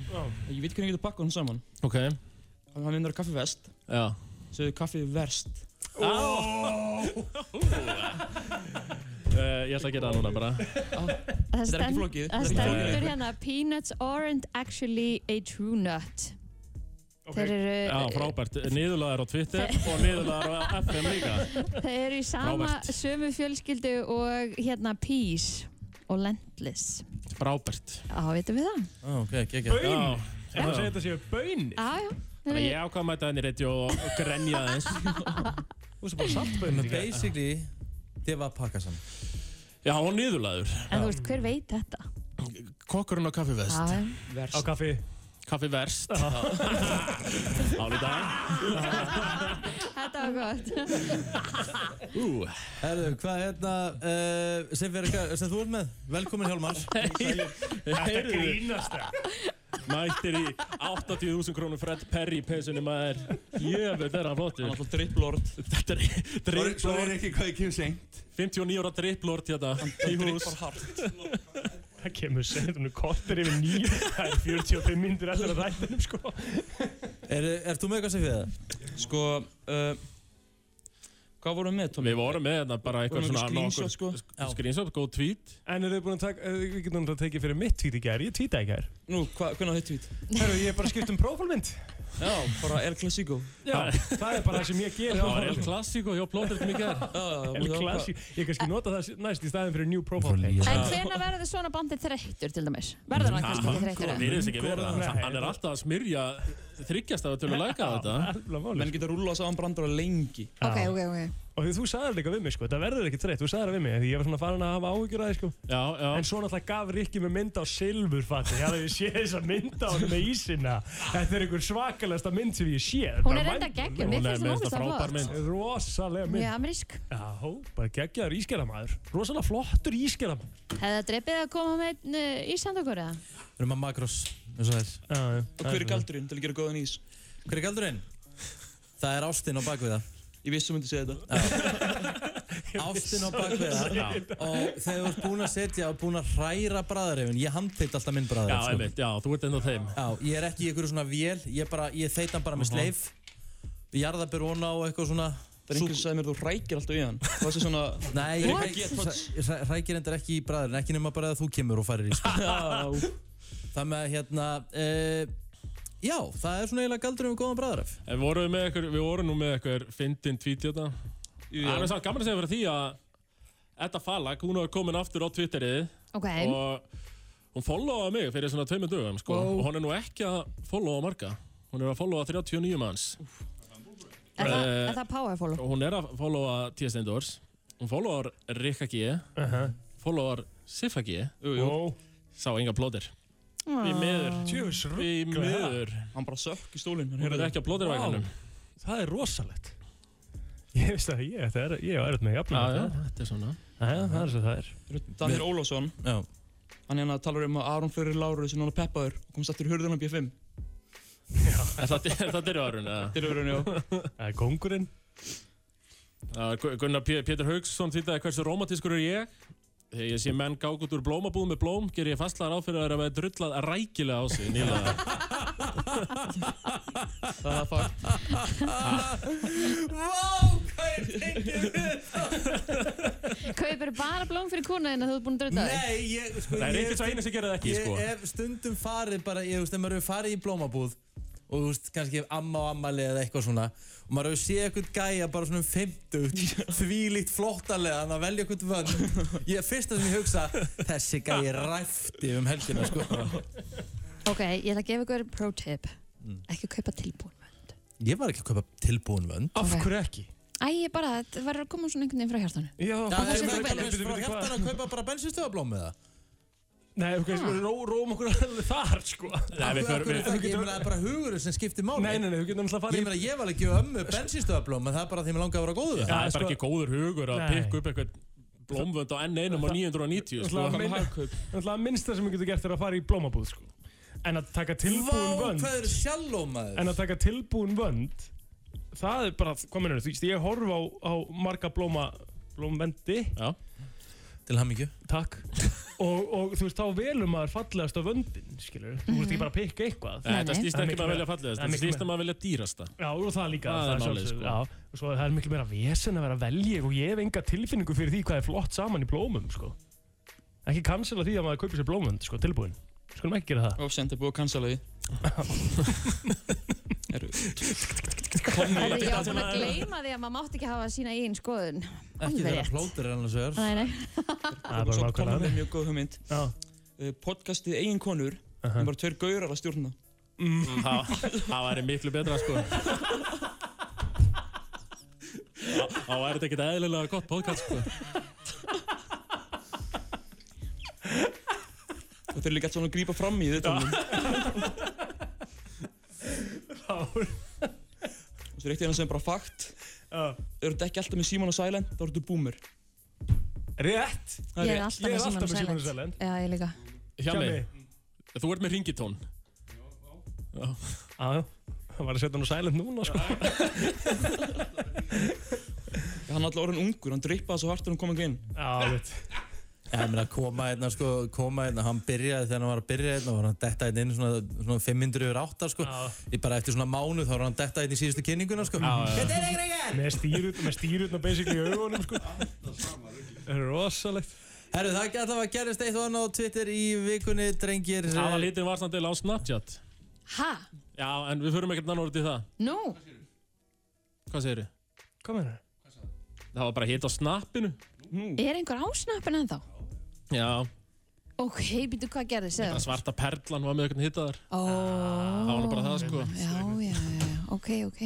Speaker 11: Ég veit hvernig ég getur bakkað hann saman.
Speaker 12: Ok.
Speaker 11: Hann hann vindur kaffi vest.
Speaker 12: Já.
Speaker 11: Segðu kaffi verst.
Speaker 12: Uh, ég ætla að gera það núna bara.
Speaker 2: Það
Speaker 12: Þetta er ekki
Speaker 2: stend- Það
Speaker 12: flókið. Þetta er ekki
Speaker 2: stendur
Speaker 12: flókið.
Speaker 2: hérna Peanuts aren't actually a true nut Þeir eru
Speaker 12: Já, frábært. Niðurlaðar á Twitter og niðurlaðar á FM líka.
Speaker 2: Þeir eru í sama
Speaker 12: Frábært.
Speaker 2: sömu fjölskyldu og hérna Peace og Lentless
Speaker 12: Frábært.
Speaker 2: Já, veitum við það?
Speaker 1: Ó, Ah, ok, ekki.
Speaker 2: Baun.
Speaker 12: Ég maður segja þetta séu baunir.
Speaker 2: Já, já
Speaker 12: Þannig að ég ákvað að mæta henni í radio og og grenja aðeins. Þú veist bara saltbaunir.
Speaker 1: Þannig að basically, þið var að pakka saman.
Speaker 12: Já, og niðurlaður.
Speaker 2: En þú veist, hver veit þetta?
Speaker 12: Kokkurinn á kaffi vest.
Speaker 2: Já, já.
Speaker 12: Á kaffi. Kaffi verst. Án í dag.
Speaker 2: Þetta var gott
Speaker 12: Ú.
Speaker 1: Herðu, hvað hérna, uh, sem, vera, hvað- sem þú ert með? Velkomin Hjálmar.
Speaker 12: Þetta grínast það. Mættir í 80.000 krónum Fred Perry peysunni maður. Jöfnveld er hann flottur. Hann er alltaf dripplord. Þetta er dripplord.
Speaker 13: Svo er ekki hvað ég
Speaker 3: um
Speaker 13: kemur seint.
Speaker 12: 59 ára dripplord hérna í hús.
Speaker 13: drippar
Speaker 3: Það kemur sent, hún er kortir yfir nýju, það er 45 myndir eftir að rættinum sko.
Speaker 1: Er, er þú með eitthvað sem við það?
Speaker 11: Sko, uh, hvað vorum við með, Tómi?
Speaker 12: Við vorum með hérna- þetta bara eitthvað svona
Speaker 11: screenshot, sko.
Speaker 12: nokkur- Screenshot, góð tweet.
Speaker 3: En eru þið búin að taka, eh, við getum náttúrulega tekið fyrir mitt tweet í gær, ég tweeta í gær.
Speaker 11: Nú, hva, hvernig á þitt tweet?
Speaker 3: Herru, ég er bara skipt um prófálmynd.
Speaker 11: Já, bara El Clasico.
Speaker 3: Já, það er bara það sem ég geri
Speaker 12: Það var El Clasico, já, plótir þetta mikið
Speaker 11: Já, já, já,
Speaker 3: El
Speaker 11: já,
Speaker 3: Clasico, ég kannski nota það næst í staðin fyrir New Profile Pic.
Speaker 2: En hvena verður svona bandið þreyttur til dæmis? Verður hann kannski ekki þreyttur?
Speaker 12: Hann virðist ekki verið það. Hann er alltaf að smyrja þryggjast af að tölja læka þetta.
Speaker 11: Menn geta rúlað saman brandara lengi.
Speaker 2: Ok, ok, ok
Speaker 3: Og því þú sagðir líka við mig sko, það verður ekki þreytt, þú sagðir það við mig, því ég var svona farin að hafa áhyggjur að því sko.
Speaker 12: Já, já.
Speaker 3: En svo náttúrulega gaf Rikki með mynda á silfurfatti, ég hafði séð þessa mynda á hann með ísina. Þetta er einhver svakalegasta mynd sem ég sé.
Speaker 2: Hún er reyndar geggjuð, mér Hún er- finnst hún mér finnst það ógeðslega frábær flott. mynd.
Speaker 3: Rosalega
Speaker 2: Mjög
Speaker 3: mynd.
Speaker 2: amerísk
Speaker 3: Já, bara geggjaður ískerðamaður. Rosalega flottur ískerðamaður.
Speaker 2: Hefði það drefið að koma með uh, Ísland okkur eða?
Speaker 1: Við erum að makros, eins og þess.
Speaker 11: Og hver er galdurinn til að gera góðan ís?
Speaker 1: Hver er galdurinn? Það er ástin á bakvið það.
Speaker 11: Ég vissi að þú myndi segja þetta.
Speaker 1: Ástin á bakvið það.
Speaker 11: Já.
Speaker 1: Og þegar þú ert búinn að setja og búinn að hræra bræðarefin, ég handteit alltaf minn bræðarefin.
Speaker 12: Já, einmitt, já, þú ert enda þeim.
Speaker 1: Já, ég er ekki í einhverju svona vél, ég, bara, ég þeit hann bara með
Speaker 11: Mhm.
Speaker 1: sleif. Jarðabir óna og eitthvað svona.
Speaker 11: Það er einhvern sem sagði mér að þú rækir alltaf í hann. Það er svona...
Speaker 1: Nei,
Speaker 11: Þeir
Speaker 1: ég
Speaker 11: eru
Speaker 1: ræk-
Speaker 11: ekki að touch.
Speaker 1: ég ræ- rækir endur ekki í bræðarinn, ekki nema bara að þú kemur og farir í sko.
Speaker 11: Já.
Speaker 1: Það með hérna, uh, já, það er svona eiginlega galdurinn við góðan bræðaref.
Speaker 12: En voruð með ykkur, við vorum nú með ykkur fyndin tweet þetta.
Speaker 11: já.
Speaker 12: Það er samt gaman að segja fyrir því að Edda Falag, hún var komin aftur á Twitterið
Speaker 2: Ok
Speaker 12: og hún followaði mig fyrir svona tveimur dögum sko.
Speaker 2: Wow.
Speaker 12: og hún er nú ekki að followa marga. Hún er að followa 39 manns.
Speaker 2: Er það,
Speaker 12: Eh,
Speaker 2: er það powerful?
Speaker 12: Og hún er að followa T.S. Endors Hún followar Rikka G
Speaker 2: Eh.
Speaker 12: Followar Siffa G
Speaker 11: Jú, jú.
Speaker 12: Sá enga plóðir Því miður
Speaker 3: Tjöfus
Speaker 12: Því miður
Speaker 11: Hann bara sökk í stólinn.
Speaker 12: Hún er ekki á plóðirvagnanum
Speaker 3: Það er rosalegt. Ég veist það, ég, þetta er, ég er með jafnum.
Speaker 11: Já, já,
Speaker 12: þetta er svona.
Speaker 3: Já, það er svo það er.
Speaker 11: Danir Ólásson
Speaker 1: Já.
Speaker 11: Hann hérna talar um að Aron Fleurir Lárus er núna peppaður og komst aftur í hurðina á B5
Speaker 12: Er það- er Það dyrir árun
Speaker 11: Dyrir árun, já
Speaker 3: Það er kongurinn
Speaker 12: Gunnar P- Pétur Haugsson þýttaði hversu romantískur er ég Þegar ég sé menn gák út úr blómabúð með blóm ger ég fastlaðar áfyrir að það er að vera drullað rækilega á sig nýlega
Speaker 11: Það er fakt
Speaker 1: Vá, hvað er tengið við
Speaker 2: Kaupir bara blóm fyrir kona þinn að þú ert búin að drauta
Speaker 1: Nei, ég, sko,
Speaker 12: Það er
Speaker 1: ég
Speaker 12: ekki sá einu sem gerir það ekki,
Speaker 1: ég
Speaker 12: sko.
Speaker 1: hef stundum farið bara, ég veist, ef maður hefur farið í blómabúð og þú veist, kannski amma og ammali eða eitthvað svona og maður hefur séð eitthvað gæja bara svona um 50 þvílíkt flottalega hann að velja eitthvað vönd ég fyrsta sem ég hugsa, þessi gæji ræfti um helgina, sko
Speaker 2: Ok, ég ætla að gefa ykkur pro tip
Speaker 12: Mm.
Speaker 2: Ekki kaupa tilbúin
Speaker 1: Ég var ekki að kaupa tilbúin vönd
Speaker 3: Af hverju ekki?
Speaker 2: Æ, ég bara, þetta var að koma svona einhvern veginn frá hjartanu
Speaker 3: Já,
Speaker 1: Það
Speaker 2: það
Speaker 1: er
Speaker 2: sem
Speaker 1: bara
Speaker 2: þú
Speaker 1: ekki
Speaker 2: velur.
Speaker 1: frá hjartan að kaupa bara bensinstöðablóm með það
Speaker 3: Nei, ok,
Speaker 11: Ah.
Speaker 1: Ha?
Speaker 3: við ró, róum okkur alveg þar, sko.
Speaker 1: Nei, við förum við Ég meina það er bara hugurinn sem skiptir máli
Speaker 3: Nei, nei, nei, þú getur náttúrulega farið
Speaker 1: Ég meina ég var ekki ömmu bensinstöðablóm en það er bara því mér langaði að vera góðu við
Speaker 12: Það er bara ekki góður hugur að
Speaker 1: Nei.
Speaker 12: pikka upp eitthvað blómvönd á N1 á 990 sko.
Speaker 3: Það er að minnsta sem þú getur gert er að fara í blómabúð, sko. En að taka tilbúin
Speaker 1: Vá,
Speaker 3: vönd,
Speaker 1: hvað eru sjáló maður
Speaker 3: en að taka tilbúin vönd, það er bara, hvað minnur, þú veist, ég horfa á, á marga blóma, blómvendi.
Speaker 12: Já.
Speaker 1: Til hamingju.
Speaker 3: Takk. og, og þú veist, þá velur maður fallegast á vöndin, skilur Þú veist ekki bara að pikka eitthvað
Speaker 12: Nei, þetta snýst ekki bara að velja fallegast,
Speaker 3: Það er
Speaker 12: þetta
Speaker 3: miklu
Speaker 12: snýst um að velja dýrasta.
Speaker 3: Já, og það líka
Speaker 12: Það er
Speaker 3: er
Speaker 12: málið,
Speaker 3: sjálfsögðu,
Speaker 12: sko.
Speaker 3: já, og svo það er miklu meira vesen að vera að velja og ég hef enga tilfinningu fyrir því hvað er flott saman í blómum sko. ekki cancela því að maður kaupir sér blómund sko, tilbúin, skulum ekki gera það
Speaker 11: Og sendi búið að cancela því Eru
Speaker 3: Kommi,
Speaker 2: Herri, ég var búin að gleyma því að maður mátt ekki hafa sína eigin skoðun
Speaker 9: Ekki
Speaker 2: Alveg
Speaker 9: þeirra
Speaker 2: rétt.
Speaker 9: plótur er annars vegar.
Speaker 2: Nei, nei.
Speaker 3: Það er bara
Speaker 11: Svo
Speaker 3: nákvæmlega
Speaker 11: komum við
Speaker 3: þannig.
Speaker 11: mjög góð hugmynd Eh, Podcastið eigin konur Það er bara tveir gaurar að stjórna
Speaker 3: Mm.
Speaker 12: Það væri miklu betra sko Þá væri þetta ekkert eðlilega gott podcast sko
Speaker 11: Og þeir eru líka alltaf svona að grípa fram í þetta Og svo er eitt hérna sem er bara fakt Þeir eru ekki alltaf með Simon og Silent Þá eru þetta boomer
Speaker 3: Rétt
Speaker 11: Það
Speaker 2: Ég er
Speaker 11: rétt.
Speaker 2: alltaf með Simon Silent. Já, ég líka
Speaker 12: Hjami, þú ert með ringitón Já,
Speaker 3: já Það var að setja hann á silent núna sko
Speaker 11: Hann er alltaf orðin ungur, hann drippaði svo hart þegar hann kom ekki inn
Speaker 3: Já, veit
Speaker 9: Ég meina, koma hérna, sko, koma hérna, hann byrjaði þegar hann var að byrja hérna og var hann detta hérna inn svona, svona 500 yfir 8, sko. Ég bara eftir svona mánuð þá var hann detta hérna í síðustu kynninguna, sko. Þetta er ekki ekki!
Speaker 3: með stýrut með stýrutna basically í augunum sko. það er rosalegt
Speaker 9: Herru, það er alltaf að gerist eitt og annað á Twitter í vikunni, drengir.
Speaker 12: Það var lítið varsnandil á Snapchat
Speaker 2: Ha?
Speaker 12: Já, en við förum ekkert annar út í það
Speaker 2: Nú?
Speaker 12: Hvað segirðu?
Speaker 3: Hvað meina?
Speaker 12: Það var bara hitt á Snapinu
Speaker 2: Er einhver ásnappin ennþá?
Speaker 12: Já,
Speaker 2: Ok, býtu hvað gerði,
Speaker 12: það
Speaker 2: segðu
Speaker 12: svarta perlan var með ekkert hittaðar
Speaker 2: Ó
Speaker 12: Það var nú bara það sko
Speaker 2: Já, já, já, já, ok, ok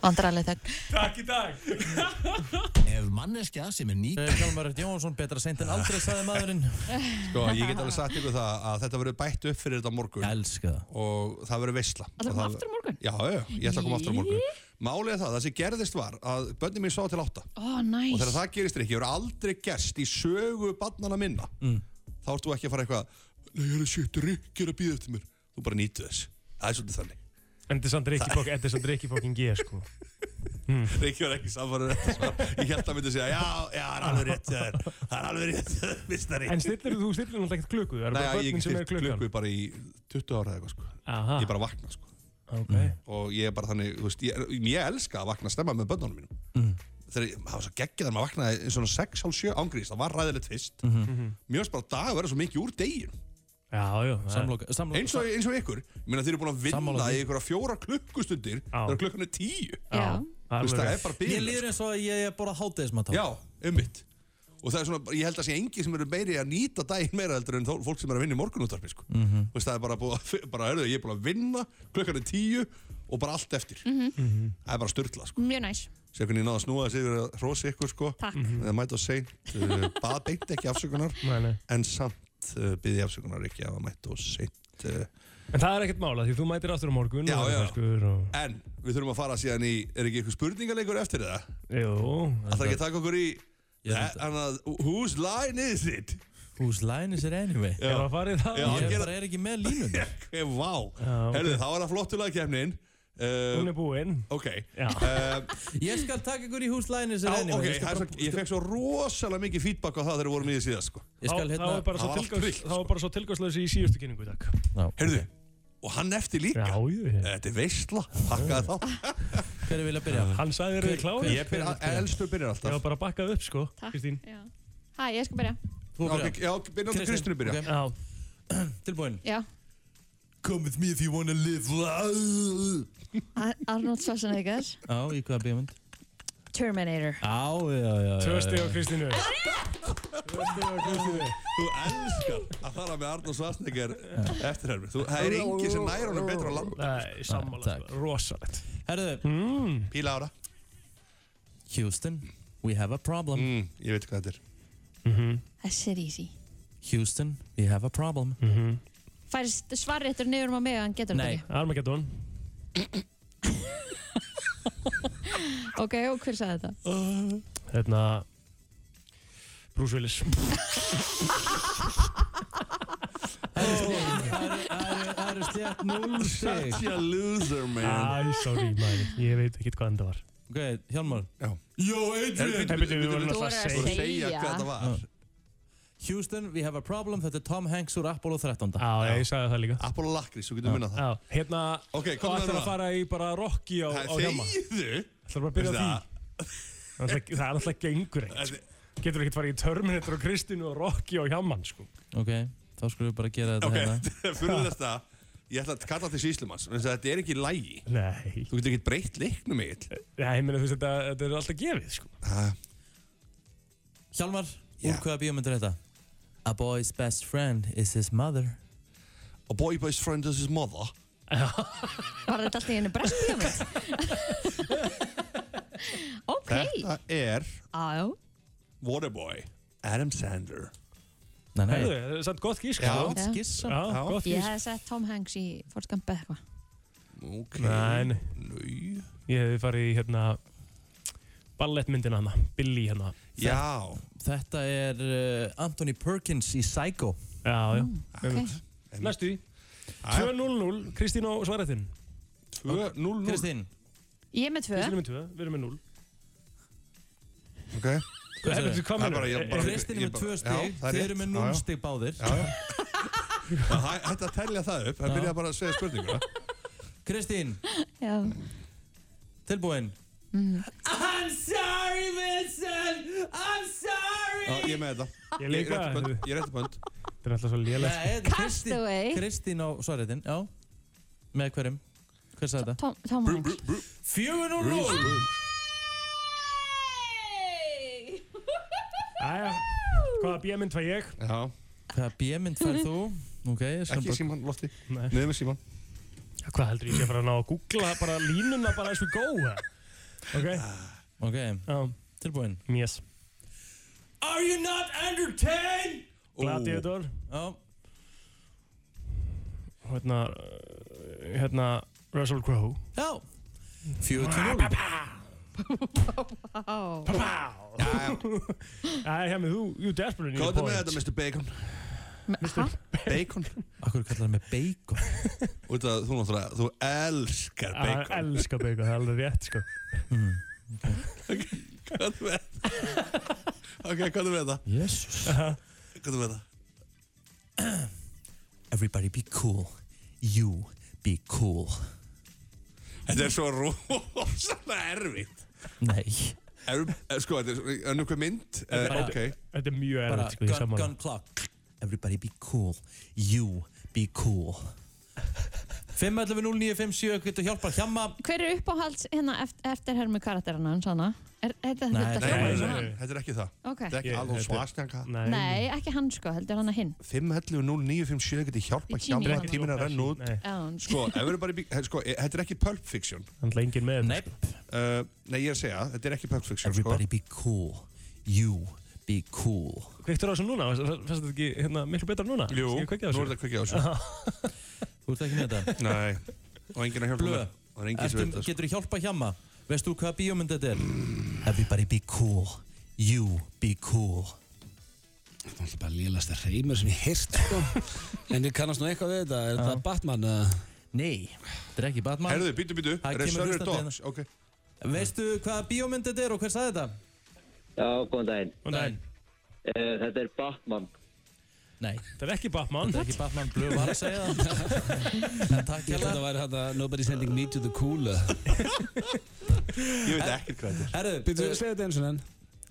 Speaker 2: Vandrarlega þögn
Speaker 3: Takk í dag
Speaker 9: Ef manneskja sem er nýtt... Hjalmar Eh, Örn Jónsson, betra seint en aldrei, sagði maðurinn.
Speaker 14: Sko, ég get alveg sagt ykkur það að þetta verður bætt upp fyrir þetta á morgun. Ég
Speaker 9: elska það.
Speaker 14: Og það verður veisla.
Speaker 2: Ætlarðu að koma aftur á morgun?
Speaker 14: Já, já, ég ætla að koma aftur á morgun. Málið er það, það sem gerðist var að börnum mín sá til átta.
Speaker 2: Ó, næs
Speaker 14: Og þegar það gerist ekki, ég verður aldrei gerst í sögu barnana minna. Mm. Þá ertu ekki að fara eitthvað, nei, ég er að sjöttu ryggir að býða eftir mér. Þú bara nýtu þess. Það er svolítið þannig.
Speaker 3: en þetta er samt Rikki fokk- þetta er samt Rikki fokkin G sko.
Speaker 14: Rikki var ekki samfarið þetta svar. Ég held að myndi segja, já, já, það er alveg rétt, hjá þér. það er alveg rétt, mistari.
Speaker 3: en stillir þú stillir náttúrulega ekkert klukku það er
Speaker 14: Nei,
Speaker 3: bara
Speaker 14: ég
Speaker 3: börnin sem
Speaker 14: styrkt
Speaker 3: er klukkan
Speaker 14: klukku bara í 20 ára eða eitthvað sko.
Speaker 3: Aha.
Speaker 14: Ég bara vakna sko.
Speaker 3: okay.
Speaker 14: og ég er bara þannig, þú veist, ég, ég elska að vakna stemma með börnunum mínum
Speaker 3: Mm.
Speaker 14: þegar ég- það var svo geggjað þegar maður vaknaði eins og svona 6-7 ángrís, það var ræðilegt fyrst mm -hmm. mér finnst bara að dag vera svo mikið úr degin
Speaker 3: Já, já,
Speaker 9: Samloka- samloka-
Speaker 14: eins, og, eins og ykkur, ég meina þeir eru búin að vinna
Speaker 9: Sammála því.
Speaker 14: í ykkur fjóra klukkustundir þegar klukkan er tíu
Speaker 9: Já.
Speaker 14: Þú veist, það er bara
Speaker 9: Ég
Speaker 14: bíl
Speaker 9: líður eins og að ég er bara hátegismat á.
Speaker 14: já, ummitt og það er svona, ég held að sé engi sem eru meiri að nýta daginn meira heldur en þó, fólk sem eru að vinna í morgunúttarpi sko.
Speaker 10: Mhm.
Speaker 14: Þú veist, það er bara, búið, að- bara heyrðu, ég er búin að vinna klukkan er tíu og bara allt eftir
Speaker 2: Mhm.
Speaker 14: það er bara sko. störtla
Speaker 2: Mjög næs
Speaker 14: sé hvernig ég náða að snúa þessi yfir að hrósi ykkur sko
Speaker 2: Takk.
Speaker 14: Mhm. eða mæta á seint uh, bað beint ekki afsökunar
Speaker 3: Nei, nei.
Speaker 14: en samt uh, byði afsökunar ekki að mæta á seint uh,
Speaker 3: en það er ekkert mála því þú mætir aftur á morgun
Speaker 14: Já,
Speaker 3: og
Speaker 14: já.
Speaker 3: verður ferskur og...
Speaker 14: en við þurfum að fara síðan í er ekki ykkur spurningalegur eftir það
Speaker 3: Jú,
Speaker 14: það þarf ekki að taka okkur í annað, whose line is it
Speaker 9: Whose line is it anyway?
Speaker 14: Já.
Speaker 9: Ég var
Speaker 14: að fara í það? Já,
Speaker 9: Ég
Speaker 14: gera-
Speaker 9: bara er ekki með línunar.
Speaker 14: Ég, vá,
Speaker 9: Já, ok.
Speaker 14: herðu þá er það flottulega kemnin uh,
Speaker 9: Hún er
Speaker 3: búinn
Speaker 14: ok
Speaker 9: Já.
Speaker 14: Eh,
Speaker 9: Ég skal taka ykkur í whose line is it
Speaker 14: Já,
Speaker 9: anyway.
Speaker 14: ok,
Speaker 9: Ég skal
Speaker 14: það er
Speaker 9: bara-
Speaker 14: svo, ég fekk svo rosalega mikið feedback á það þegar við vorum í því síðast sko.
Speaker 9: Ég skal, Þá- hérna-
Speaker 3: það var bara
Speaker 14: Það
Speaker 3: svo
Speaker 14: var allt
Speaker 3: tilgangs-
Speaker 14: tryggt,
Speaker 3: það var bara svo tilgangslösi í síðustu kynningu í dag
Speaker 14: Heyrðu, og hann eftir líka
Speaker 3: Já, jú
Speaker 14: Þetta er veistla, pakkaði þá Eh,
Speaker 9: Hver er vilja byrja?
Speaker 3: Hann sagði þér
Speaker 14: Hver-
Speaker 3: að klára
Speaker 14: hver- Ég byrja- elstur byrjar alltaf.
Speaker 3: Ég var bara að bakkað upp sko,
Speaker 2: Takk.
Speaker 3: Kristín
Speaker 2: Já. Hæ, ég skal byrja
Speaker 9: Þú
Speaker 14: byrja. Já, ok, byrja á Kristínu byrja.
Speaker 3: Já.
Speaker 9: Tilbúin.
Speaker 2: Já,
Speaker 9: Come with me if you wanna live life.
Speaker 2: Ar- Arnold Schwarzenegger
Speaker 9: Já, í hvaða bíomund?
Speaker 2: Terminator
Speaker 9: Já, já, já. já,
Speaker 3: Tvö stig á
Speaker 9: já.
Speaker 3: Kristínu
Speaker 14: Þú elskar að fara með Arnó Svarsneger eftirhermi Þú- Það er engin sem nær honum betur á landa
Speaker 3: Nei, sammála, sko, Hmm. rosalegt
Speaker 9: Ah, Herðu
Speaker 14: Píla ára
Speaker 9: Houston, we have a problem.
Speaker 14: Mm, ég veit hvað þetta er.
Speaker 3: Mhm.
Speaker 2: Þessi er easy
Speaker 9: Houston, we have a problem. Mm -hmm.
Speaker 3: Mhm.
Speaker 2: Færst svarréttur niður um að mig og hann getur þetta
Speaker 3: Armageddon
Speaker 2: ekki Ok, og hver sagði þetta?
Speaker 3: Hérna Bruce Willis
Speaker 9: Það eru- það eru- það
Speaker 1: eru stjætt 0 stig
Speaker 14: Such a loser, man
Speaker 3: Æ, sorry, maður, ég veit ekki hvað þetta var
Speaker 1: Ok, Hjálmar
Speaker 14: Já
Speaker 1: Jó,
Speaker 3: Heyrðu, bíddu, bíddu,
Speaker 1: Adrian
Speaker 3: við vorum Þú náttúrulega voru að að segja. segja hvað þetta var.
Speaker 1: Houston, we have a problem Þetta er Tom Hanks úr Apollo 13
Speaker 3: Já, ég sagði það líka
Speaker 14: Apollo Lakrís, þú getur
Speaker 1: munnað
Speaker 14: það.
Speaker 3: Já, hérna
Speaker 14: Ok,
Speaker 3: Og
Speaker 14: komum við
Speaker 3: ætlar
Speaker 14: núna.
Speaker 3: að fara í bara Rocky á, á
Speaker 14: Það
Speaker 3: hjálma
Speaker 14: þegiðu
Speaker 3: Ætlar bara að byrja á
Speaker 14: Veistu
Speaker 3: því
Speaker 14: það?
Speaker 3: Það er alltaf- það er alltaf gengur eitt Getur ekki farið í Terminator og Kristínu og Rocky á hjálman sko.
Speaker 1: Ok, þá skulum við bara gera
Speaker 14: Ok,
Speaker 1: þetta hérna
Speaker 14: fyrir þetta Ég ætla að kalla til síslumanns vegna þess að Þetta er ekki lægi
Speaker 3: Nei
Speaker 14: Þú getur ekki breytt leiknum eitt
Speaker 3: Já, ég meina þú veist, þetta, þetta er alltaf gefið sko.
Speaker 1: Hjálmar, úr hvaða bíómynd er þetta? A boy's best friend is his mother
Speaker 14: A boy's best friend is his mother
Speaker 2: Var þetta alltaf í henni breskbíómynd? ok.
Speaker 14: Þetta er
Speaker 2: Á,
Speaker 14: Waterboy Adam Sandler
Speaker 1: Nei,
Speaker 3: nei Heyrðu, það er samt gott gísk
Speaker 14: Já,
Speaker 3: sko.
Speaker 2: Já.
Speaker 1: skissa
Speaker 3: Já, gott
Speaker 2: Ég
Speaker 3: gísk
Speaker 2: hefði sett Tom Hanks í Forrest Gump eða eitthvað.
Speaker 14: Ok
Speaker 3: Nei, nei.
Speaker 14: Nei.
Speaker 3: Ég hefði farið í hérna ballettmyndina hana, Billy hérna
Speaker 14: Já
Speaker 1: Þetta er uh, Anthony Perkins í Psycho
Speaker 3: Já, já Næstu því 2-0-0, Kristín og svarættin
Speaker 14: 2-0-0
Speaker 1: Kristín
Speaker 2: Ég er með tvö.
Speaker 3: Kristín er með 2, við erum með 0
Speaker 14: Ok
Speaker 3: Hvað sagði þið?
Speaker 14: Það er bara- ég- bara-
Speaker 1: Kristín er
Speaker 14: ég
Speaker 1: með
Speaker 14: bara-
Speaker 1: tvö
Speaker 14: Já,
Speaker 1: stig
Speaker 14: það er
Speaker 1: Þið
Speaker 14: rétt.
Speaker 1: eru með
Speaker 14: Já,
Speaker 1: 0
Speaker 14: já.
Speaker 1: stig báðir
Speaker 14: Já, já. Það- Þetta að telja það upp, það byrja bara að segja spurninguna
Speaker 1: Kristín,
Speaker 2: Já.
Speaker 1: tilbúin
Speaker 2: Mm.
Speaker 15: I'm sorry, Vincent I'm sorry
Speaker 14: Já, ég er með þetta
Speaker 3: Ég líka.
Speaker 14: er rétt bönd, Ég er rétt bönd
Speaker 3: Þetta er alltaf svo lélega
Speaker 1: Nei, þetta er Kristín-
Speaker 2: Castaway.
Speaker 1: Kristín á svarriðin, já Með hverjum? Hver sagði þetta?
Speaker 2: Tom, Tom Hanks.
Speaker 1: 4-0
Speaker 3: Æja, hvaða bjömynd fæ ég?
Speaker 14: Já
Speaker 1: Hvaða bjömynd færð þú? Ok, ég skal
Speaker 14: Ekki
Speaker 1: bara-
Speaker 14: síman, lofti
Speaker 3: Nei.
Speaker 14: Niður með síman
Speaker 3: Hvað heldur ég sé að fara að ná að googla bara línuna bara eins og góða? Ok,
Speaker 1: Ok,
Speaker 3: já,
Speaker 1: tilbúin
Speaker 3: yes
Speaker 1: Are you not entertained?
Speaker 3: Gladiator
Speaker 1: Já,
Speaker 3: Hérna, uh, hérna Russell Crowe
Speaker 1: já 4-0
Speaker 2: Á.
Speaker 3: Æja, hjá mig, þú, you desperate need a
Speaker 14: Kóðu með
Speaker 3: point.
Speaker 14: þetta, Mr. Bacon
Speaker 2: Ha?
Speaker 14: Bacon
Speaker 1: Akkur kallar það með bacon
Speaker 14: Út að þú náttúrulega, þú elskar
Speaker 3: Já,
Speaker 14: bacon
Speaker 3: Ég elska Ah, bacon, það er alveg rétt sko
Speaker 14: Hvað er þetta? Ok, hvað er þetta?
Speaker 1: Jesus
Speaker 14: Hvað er þetta?
Speaker 1: Everybody be cool You be cool
Speaker 14: Þetta er svo rosalega erfitt
Speaker 1: Nei
Speaker 14: er, er- Sko, þetta er önnur hver mynd
Speaker 3: Þetta
Speaker 14: uh,
Speaker 3: er bara-
Speaker 14: Ok
Speaker 3: Þetta er mjög
Speaker 1: Bara
Speaker 3: erfitt sko, ég
Speaker 1: gun,
Speaker 3: saman
Speaker 1: gun clock Everybody be cool You be cool 5.11.09.57 Getur hjálpar hjamma
Speaker 2: Hver er uppáhalds hérna eft- eftirhermu karakterana hans hana? Er, er, er, þetta
Speaker 1: Nei, nei,
Speaker 2: hljómar
Speaker 1: nei,
Speaker 2: eins og
Speaker 1: nei.
Speaker 2: hann?
Speaker 14: Þetta er ekki það
Speaker 2: Ok.
Speaker 14: Þetta er ekki
Speaker 3: Ég-
Speaker 14: alveg sko.
Speaker 3: þetta-
Speaker 14: svarsnjanga
Speaker 2: Nei, ekki hann sko, heldur hann að hinn.
Speaker 14: 5.11.09.57 getur hjálpa
Speaker 2: Í tími
Speaker 14: hjálpa
Speaker 2: hana.
Speaker 14: tíminn að renna út
Speaker 3: Nei,
Speaker 2: Án.
Speaker 14: Sko, everybody be, he- sko, e- þetta er ekki Pulp Fiction
Speaker 3: þannig engin með þetta sko.
Speaker 1: Nei
Speaker 14: uh, Nei, ég er að segja, þetta er ekki Pulp Fiction sko.
Speaker 1: Everybody be cool You be cool
Speaker 3: sko. Kveiktur á þessu núna, fannst þetta ekki hérna, miklu betra núna?
Speaker 14: Jú, nú
Speaker 3: Skal ég
Speaker 14: er
Speaker 3: kveikja á þessu?
Speaker 14: þetta kveikið á þessu
Speaker 1: Þú ert ekki með þetta?
Speaker 14: Nei, og enginn að hjálpa
Speaker 1: Blöð.
Speaker 14: mér Það er enginn sem veit
Speaker 1: Ertu,
Speaker 14: það sko.
Speaker 1: getur þú hjálpa hjamma? Veist þú hvaða bíómynd þetta er? Everybody be cool You be cool
Speaker 10: Það er alltaf bara lélasta reymur sem ég heyrst sko. En ég kannast nú eitthvað við þetta Er þetta Batman? Uh...
Speaker 1: Nei, þetta er ekki Batman
Speaker 14: Herðu, býtu, býtu,
Speaker 1: Það kemur
Speaker 14: Reservoir
Speaker 1: hlustandi hérna.
Speaker 14: Dogs Ok,
Speaker 1: Veistu hvaða bíómynd þetta er og hver sagði þetta?
Speaker 12: Já, góðan daginn.
Speaker 3: Góðan daginn.
Speaker 12: Eh, Þetta er Batman.
Speaker 1: Nei,
Speaker 3: Þetta er ekki Batman
Speaker 1: þetta er ekki Batman Blue var að segja það En Takk
Speaker 10: Ég held að
Speaker 1: hjá
Speaker 10: þetta væri hætta Nobody sending me to the cool
Speaker 14: ég veit ekkert hvað þetta
Speaker 1: Herðu,
Speaker 10: Býtu,
Speaker 1: uh,
Speaker 10: segja þetta eins og enn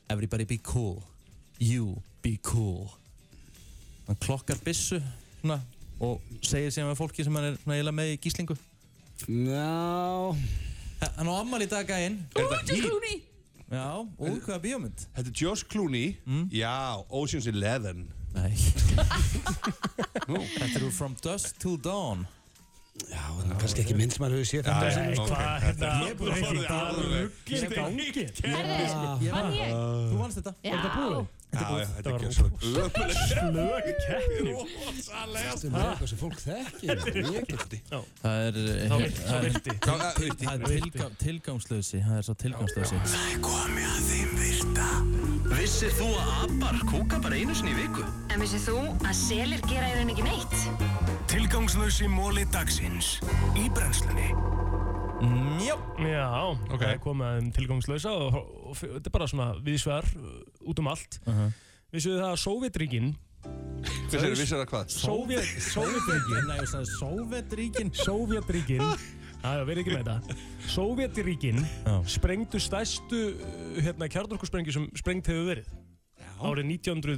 Speaker 1: Everybody be cool You be cool Hann klokkar byssu svona, og segir síðan með fólki sem hann er svona eiginlega með í gíslingu
Speaker 10: Ná
Speaker 1: Ha- Hann á ammal í dag gæinn
Speaker 14: er þetta Heat?
Speaker 1: Já, úr hvaða
Speaker 14: Eh,
Speaker 1: bíómynd? Mm.
Speaker 14: Þetta er Josh Clooney Já, Ocean's Eleven
Speaker 1: Nei
Speaker 14: Nú.
Speaker 1: Þetta eru From Dusk Till Dawn
Speaker 10: Já, það er kannski ekki mynd sem maður hefur séð
Speaker 14: Já,
Speaker 10: þetta
Speaker 14: já,
Speaker 10: sem
Speaker 14: ok.
Speaker 3: Hvað,
Speaker 14: Þetta
Speaker 3: hérna,
Speaker 14: er- Ég búið að fara því alveg
Speaker 3: Ég gangi
Speaker 2: Herðu, vann ég?
Speaker 1: Þú vannst þetta
Speaker 2: Já.
Speaker 14: Já, já, þetta er
Speaker 3: var
Speaker 14: ekki svo
Speaker 3: Slög keppni
Speaker 10: Þetta er með eitthvað sem fólk þekkir Ég get þetta
Speaker 1: Það er eh,
Speaker 3: Þá vilti,
Speaker 1: það
Speaker 3: þá
Speaker 1: er-
Speaker 3: vilti
Speaker 1: það er tilgang- tilgangslausi Það er svo tilgangslausi
Speaker 15: Það er komið að þeim virta
Speaker 16: Vissir þú að abar kúka bara einu sinni í viku?
Speaker 17: En vissið þú að selir gera í rauninni ekki neitt?
Speaker 16: Tilgangslösi móli dagsins í brennslunni.
Speaker 3: Já, Já það er komið að þeim tilgangslösa og, og, og þetta er bara svona viðsvegar uh, út um allt. Uh -huh. Vissuðu það að Sovjetríkin
Speaker 14: Vissirðu- vissirðu að hvað?
Speaker 3: Sovjet, Sovjetríkin
Speaker 9: Nei, ég sagði Sovjetríkin
Speaker 3: Sovjetríkin Það verið ekki með þetta Sovjetríkin sprengdu stærstu uh, hérna, kjarnorkusprengju sem sprengt hefur verið árið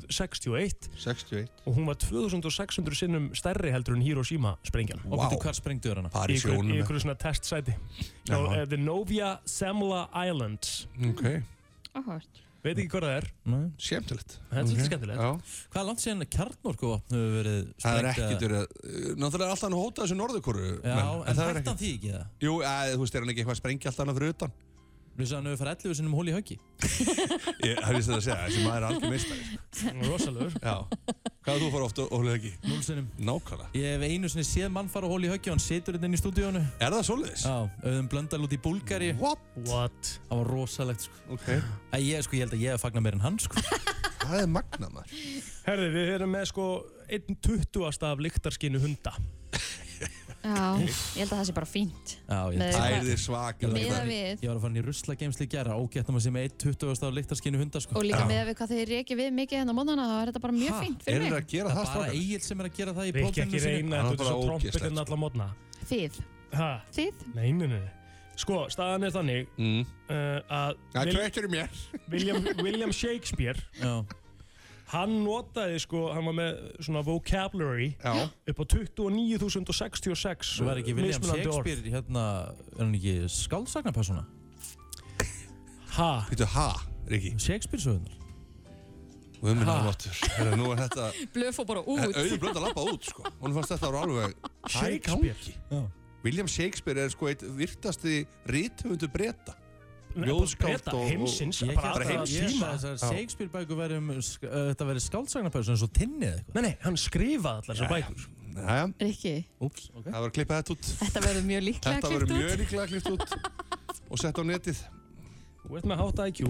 Speaker 3: 1961
Speaker 14: 61
Speaker 3: og hún var 2600 sinnum stærri heldur en Hiroshima sprengjan
Speaker 9: Og betur hvar sprengdu þér hana?
Speaker 3: Í ykkur, í ykkur svona testsæti no, uh, The Novia Semla Islands
Speaker 14: Ok
Speaker 2: Áhört
Speaker 3: Veit ekki hvað það er
Speaker 14: Skemmtilegt
Speaker 3: Það er svolítið skemmtilegt
Speaker 9: Hvað er langt síðan kjarnorku vopn hefur verið
Speaker 14: Það er
Speaker 9: sprengt,
Speaker 14: ekkert
Speaker 9: eða-
Speaker 14: verið að- Náttúrulega er alltaf hann að hóta þessu norðurkóru
Speaker 9: Já, en, en hætti hann því ekki það?
Speaker 14: Jú, að, þú veist, er hann ekki eitthvað að sprengja alltaf hann fyrir utan?
Speaker 9: Vissi hann hefur farið 11 sinnum hól í höggi?
Speaker 14: Ég hef vist þetta að segja, þessi maður er algjör meistari. sko.
Speaker 3: Rosalegur
Speaker 14: Já. Hvað þú fór oft og hól í höggi?
Speaker 9: Núl sinnum.
Speaker 14: Nákvæmlega.
Speaker 9: Ég hef einu sinni séð mann fara hól í höggi og hann situr hérna inn í stúdíónu.
Speaker 14: Er það svoleiðis?
Speaker 9: Já, auðvitað blöndal út í Búlgari.
Speaker 14: What?
Speaker 3: What?
Speaker 9: Það var rosalegt sko.
Speaker 14: Ok.
Speaker 9: Æ, ég, sko, ég held að ég hef fagnað meir en hann sko.
Speaker 14: Það er magnað maður.
Speaker 3: Herði, við erum með sko 1.20 af lyktarskinu hunda
Speaker 2: Já, ég held að það sé bara fínt
Speaker 9: Já, ég
Speaker 2: Með-
Speaker 14: Æði svakar.
Speaker 2: Miðað við-
Speaker 9: Ég var að fara inn í rusla geimsli í gera, ógætt að maður sé með 1.20 á lyktarskinu hunda sko.
Speaker 2: Og líka með við hvað þeir reykja við mikið hérna á mótnana þá er þetta bara mjög fínt fyrir mig
Speaker 9: það er bara Egil sem er að gera það í
Speaker 3: Rikki
Speaker 9: prófinu
Speaker 3: ekki reyna, um þetta er svo trompetinn allar hérna mótna
Speaker 2: Þið
Speaker 3: Hæ?
Speaker 2: Þið?
Speaker 3: Nei, nei, nei Sko, staðan er þannig
Speaker 14: mm.
Speaker 3: uh, að
Speaker 14: Það
Speaker 3: Vil-
Speaker 14: kveiktir í mér.
Speaker 3: William, William Shakespeare
Speaker 9: Já.
Speaker 3: Hann notaði sko, hann var með svona vocabulary
Speaker 14: Já.
Speaker 3: upp á 29.066
Speaker 9: Svo var ekki William
Speaker 3: mismunandi orð.
Speaker 9: Shakespeare hérna, er hann ekki skáldsagnapersona?
Speaker 3: Ha?
Speaker 14: Býtu ha, Riki?
Speaker 9: Shakespeare sögurnar.
Speaker 14: Og um minna áttur. Herra, nú er þetta...
Speaker 2: Blöf og bara út
Speaker 14: Auður blönd að lappa út, sko. Hún fannst þetta ára alveg...
Speaker 9: Já.
Speaker 14: William Shakespeare er sko eitt virtasti rithöfundu breyta.
Speaker 3: Nei, bara Breta, heimsins,
Speaker 9: Ég
Speaker 3: bara
Speaker 9: held
Speaker 3: allra
Speaker 9: að ég held
Speaker 3: tíma.
Speaker 9: að þessar
Speaker 3: Já.
Speaker 9: Shakespeare bækur væri um, sk- uh, þetta verið skáldsagnapersona eins og tinnið eitthvað.
Speaker 3: Nei, nei, hann skrifaði allar þessar bækur.
Speaker 14: Jæja.
Speaker 2: Rikki,
Speaker 9: Úps, ok.
Speaker 14: Það var að klippa þetta út.
Speaker 2: þetta verður mjög líklega
Speaker 14: Þetta verður
Speaker 2: klippt
Speaker 14: mjög
Speaker 2: út
Speaker 14: líklega klipt út og sett á netið.
Speaker 3: Þú ert með hátt IQ.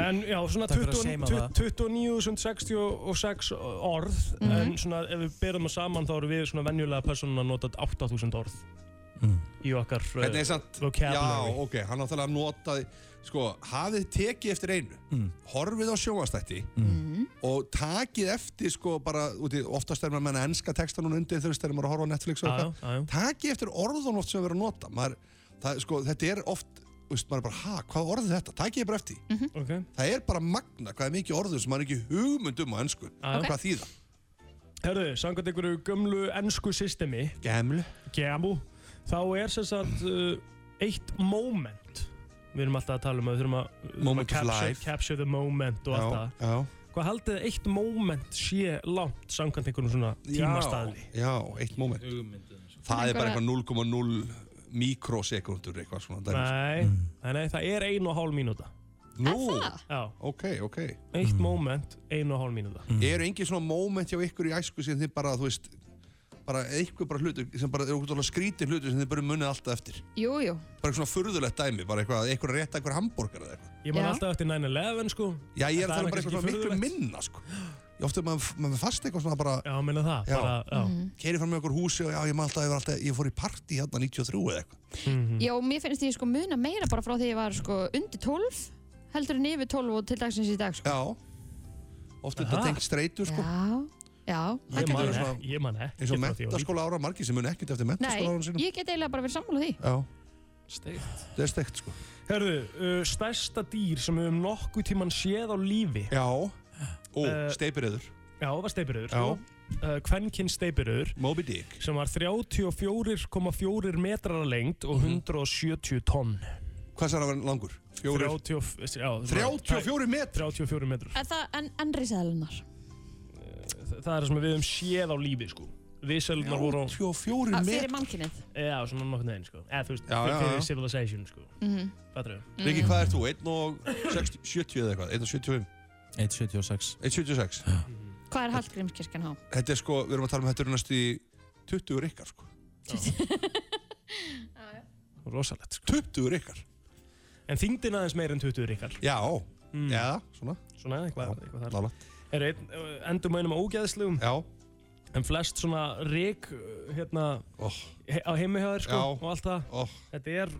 Speaker 3: En já, svona
Speaker 14: Takk fyrir að seima
Speaker 3: 20 29.066 orð
Speaker 9: Mhm.
Speaker 3: en svona ef við berum það saman þá eru við svona venjulega personan að nota 8.000 orð
Speaker 14: Mm.
Speaker 3: í okkar uh,
Speaker 14: Hvernig er samt...
Speaker 3: vocabulary.
Speaker 14: Já, ok, hann náttúrulega notaði... Sko, hafið tekið eftir einu.
Speaker 3: Mm.
Speaker 14: Horfið á sjónvastætti
Speaker 1: Mhm.
Speaker 14: og takið eftir sko bara, úti, oftast er maður að menna enska texta núna undir þegar þegar maður er að horfa á Netflix og
Speaker 3: Já,
Speaker 14: eitthvað. Takið eftir orðun oft sem við erum að nota. Maður, það, sko, þetta er oft, veist, maður er bara, ha, hvað orðið þetta? Takið bara eftir. því.
Speaker 3: Ok.
Speaker 14: Það er bara magna hvað er mikið orðum sem maður er ekki hugmynd um á ennsku.
Speaker 3: Ah, Já, já.
Speaker 14: Hvað þýða?
Speaker 3: Herðu, samkvæmt einhverju gömlu ennsku systemi
Speaker 14: Gemlu
Speaker 3: Gemu Þá er sem sagt uh, eitt moment Við erum alltaf að tala um að við þurfum að, við þurfum
Speaker 14: Moment
Speaker 3: að
Speaker 14: of
Speaker 3: capture,
Speaker 14: life.
Speaker 3: capture the moment og allt það
Speaker 14: já.
Speaker 3: Hvað haldið þið eitt moment sé langt samkvæmt einhverjum svona tímastaðli?
Speaker 14: Já, já, eitt moment. Það er bara
Speaker 3: Einhverja-
Speaker 14: eitthvað 0,0 mikrosekundur eitthvað svona. dæmi, sko.
Speaker 3: Nei, nei, nei, það er ein og hálf mínúta
Speaker 14: Nú,
Speaker 3: Já,
Speaker 14: ok, Mm. ok.
Speaker 3: eitt moment, ein og hálf mínúta
Speaker 14: Eru engin svona moment hjá ykkur í æsku sem þið bara, þú veist, bara eitthvað bara hlutur, sem bara er okkur skrítið hlutur sem þið bara munið alltaf eftir.
Speaker 2: Jú, jú
Speaker 14: Bara eitthvað svona furðulegt dæmi, bara eitthvað, eitthvað rétt eitthvað hambúrgar eða eitthvað.
Speaker 3: Ég man
Speaker 2: Já.
Speaker 3: alltaf eftir 9-11 sko
Speaker 14: Já, ég er að
Speaker 3: Það er
Speaker 14: tala um bara
Speaker 3: kannski
Speaker 14: eitthvað svona miklu
Speaker 3: furðulegt.
Speaker 14: minna, sko. Ég ofta er maður, maður er fast eitthvað svona bara...
Speaker 3: Já, minna það, bara, já
Speaker 2: Mhm.
Speaker 14: Keiri fram með okkur húsi og já, ég man alltaf, ég, var alltaf, ég fór í partí hérna 93 eða eitthvað.
Speaker 2: Já, mér finnst ég sko muna meira bara frá því ég var sko undir 12 heldur en yfir 12 og til dagsins í dag sko.
Speaker 14: Já, Oft er þetta tengt streitur, sko.
Speaker 2: Já, já það
Speaker 14: Ég
Speaker 2: getur
Speaker 14: man
Speaker 2: verið.
Speaker 14: ekki.
Speaker 3: Ég man ekki.
Speaker 14: eins og mentaskóla ára margir sem mun ekkert eftir
Speaker 2: Nei,
Speaker 14: mentaskóla ára sínum
Speaker 2: ég get eiginlega bara verið sammála því
Speaker 14: Já,
Speaker 3: Steikt
Speaker 14: það er steikt sko
Speaker 3: Herðu, uh, stærsta dýr sem við höfum nokkuð tíman séð á lífi
Speaker 14: Já Ó,
Speaker 3: Eh,
Speaker 14: steipiröður
Speaker 3: Já, það var steipiröður sko. uh, Kvenkinn steipiröður
Speaker 14: Moby Dick
Speaker 3: Sem var 34,4 metrar að lengd
Speaker 14: Mhm.
Speaker 3: og 170 tonn
Speaker 14: Hvað sér að vera langur? Fjórir?
Speaker 3: 30, já,
Speaker 14: 34 metrar?
Speaker 3: 34 metrar
Speaker 2: En það, en, en risaðalunar
Speaker 3: Þa- Það er það sem við höfum séð á lífi sko Risalunar voru á
Speaker 14: 34
Speaker 2: Fyrir mannkinnið
Speaker 3: Já, svona nokkurn veginn sko Eða þú veist,
Speaker 14: Já, já,
Speaker 3: fyrir,
Speaker 14: já.
Speaker 3: fyrir civilization sko
Speaker 2: Mhm.
Speaker 3: Fattarðu?
Speaker 14: Riki, hvað ert þú? 1 og 60, 70 eða eitthvað? 1 og 75?
Speaker 9: 176
Speaker 14: 176
Speaker 2: Hvað er Hallgrímskirkjan há?
Speaker 14: Þetta er sko, við erum að tala um þetta eru næstu í 20 rikkar sko
Speaker 3: Rosalegt sko
Speaker 14: 20 rikkar
Speaker 3: En þingdin aðeins meir en 20 rikkar
Speaker 14: Já, Já, svona
Speaker 3: Svona eitthvað, eitthvað þar
Speaker 14: Nálægt.
Speaker 3: Er einn, endur mænum á ógæðslegum
Speaker 14: Já
Speaker 3: En flest svona rík hérna he á heimihjáður sko
Speaker 14: Oh. Já.
Speaker 3: og allt það
Speaker 14: oh.
Speaker 3: Þetta er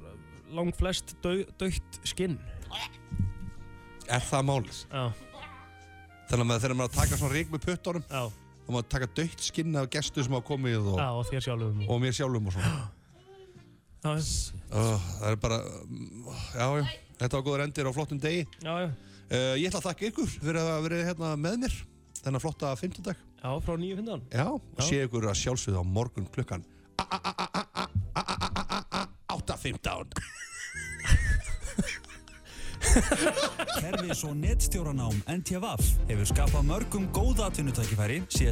Speaker 3: lang flest dau, dautt skinn
Speaker 14: Er það málið?
Speaker 3: Já
Speaker 14: Þannig að maður- þegar maður er að taka svona rík með puttunum
Speaker 3: Já
Speaker 14: þá maður að taka dögt skinn af gestu sem hafa komið og,
Speaker 3: Já, og þér sjálfum
Speaker 14: og mér sjálfum og svona
Speaker 3: Já,
Speaker 14: Ó, Það er bara, mm, já, já, þetta var góður endir á flottum degi Eh,
Speaker 3: já, já.
Speaker 14: Ég ætla að þakka ykkur fyrir að vera hérna með mér þennan flotta 15 dag
Speaker 3: Já, frá nýju hundan
Speaker 14: Já, og sé ykkur að sjálfsögðu á morgun klukkan 8.15
Speaker 5: Kerfis og netstjóranám NTVAF hefur skapað mörgum góða atvinnutækifæri síðast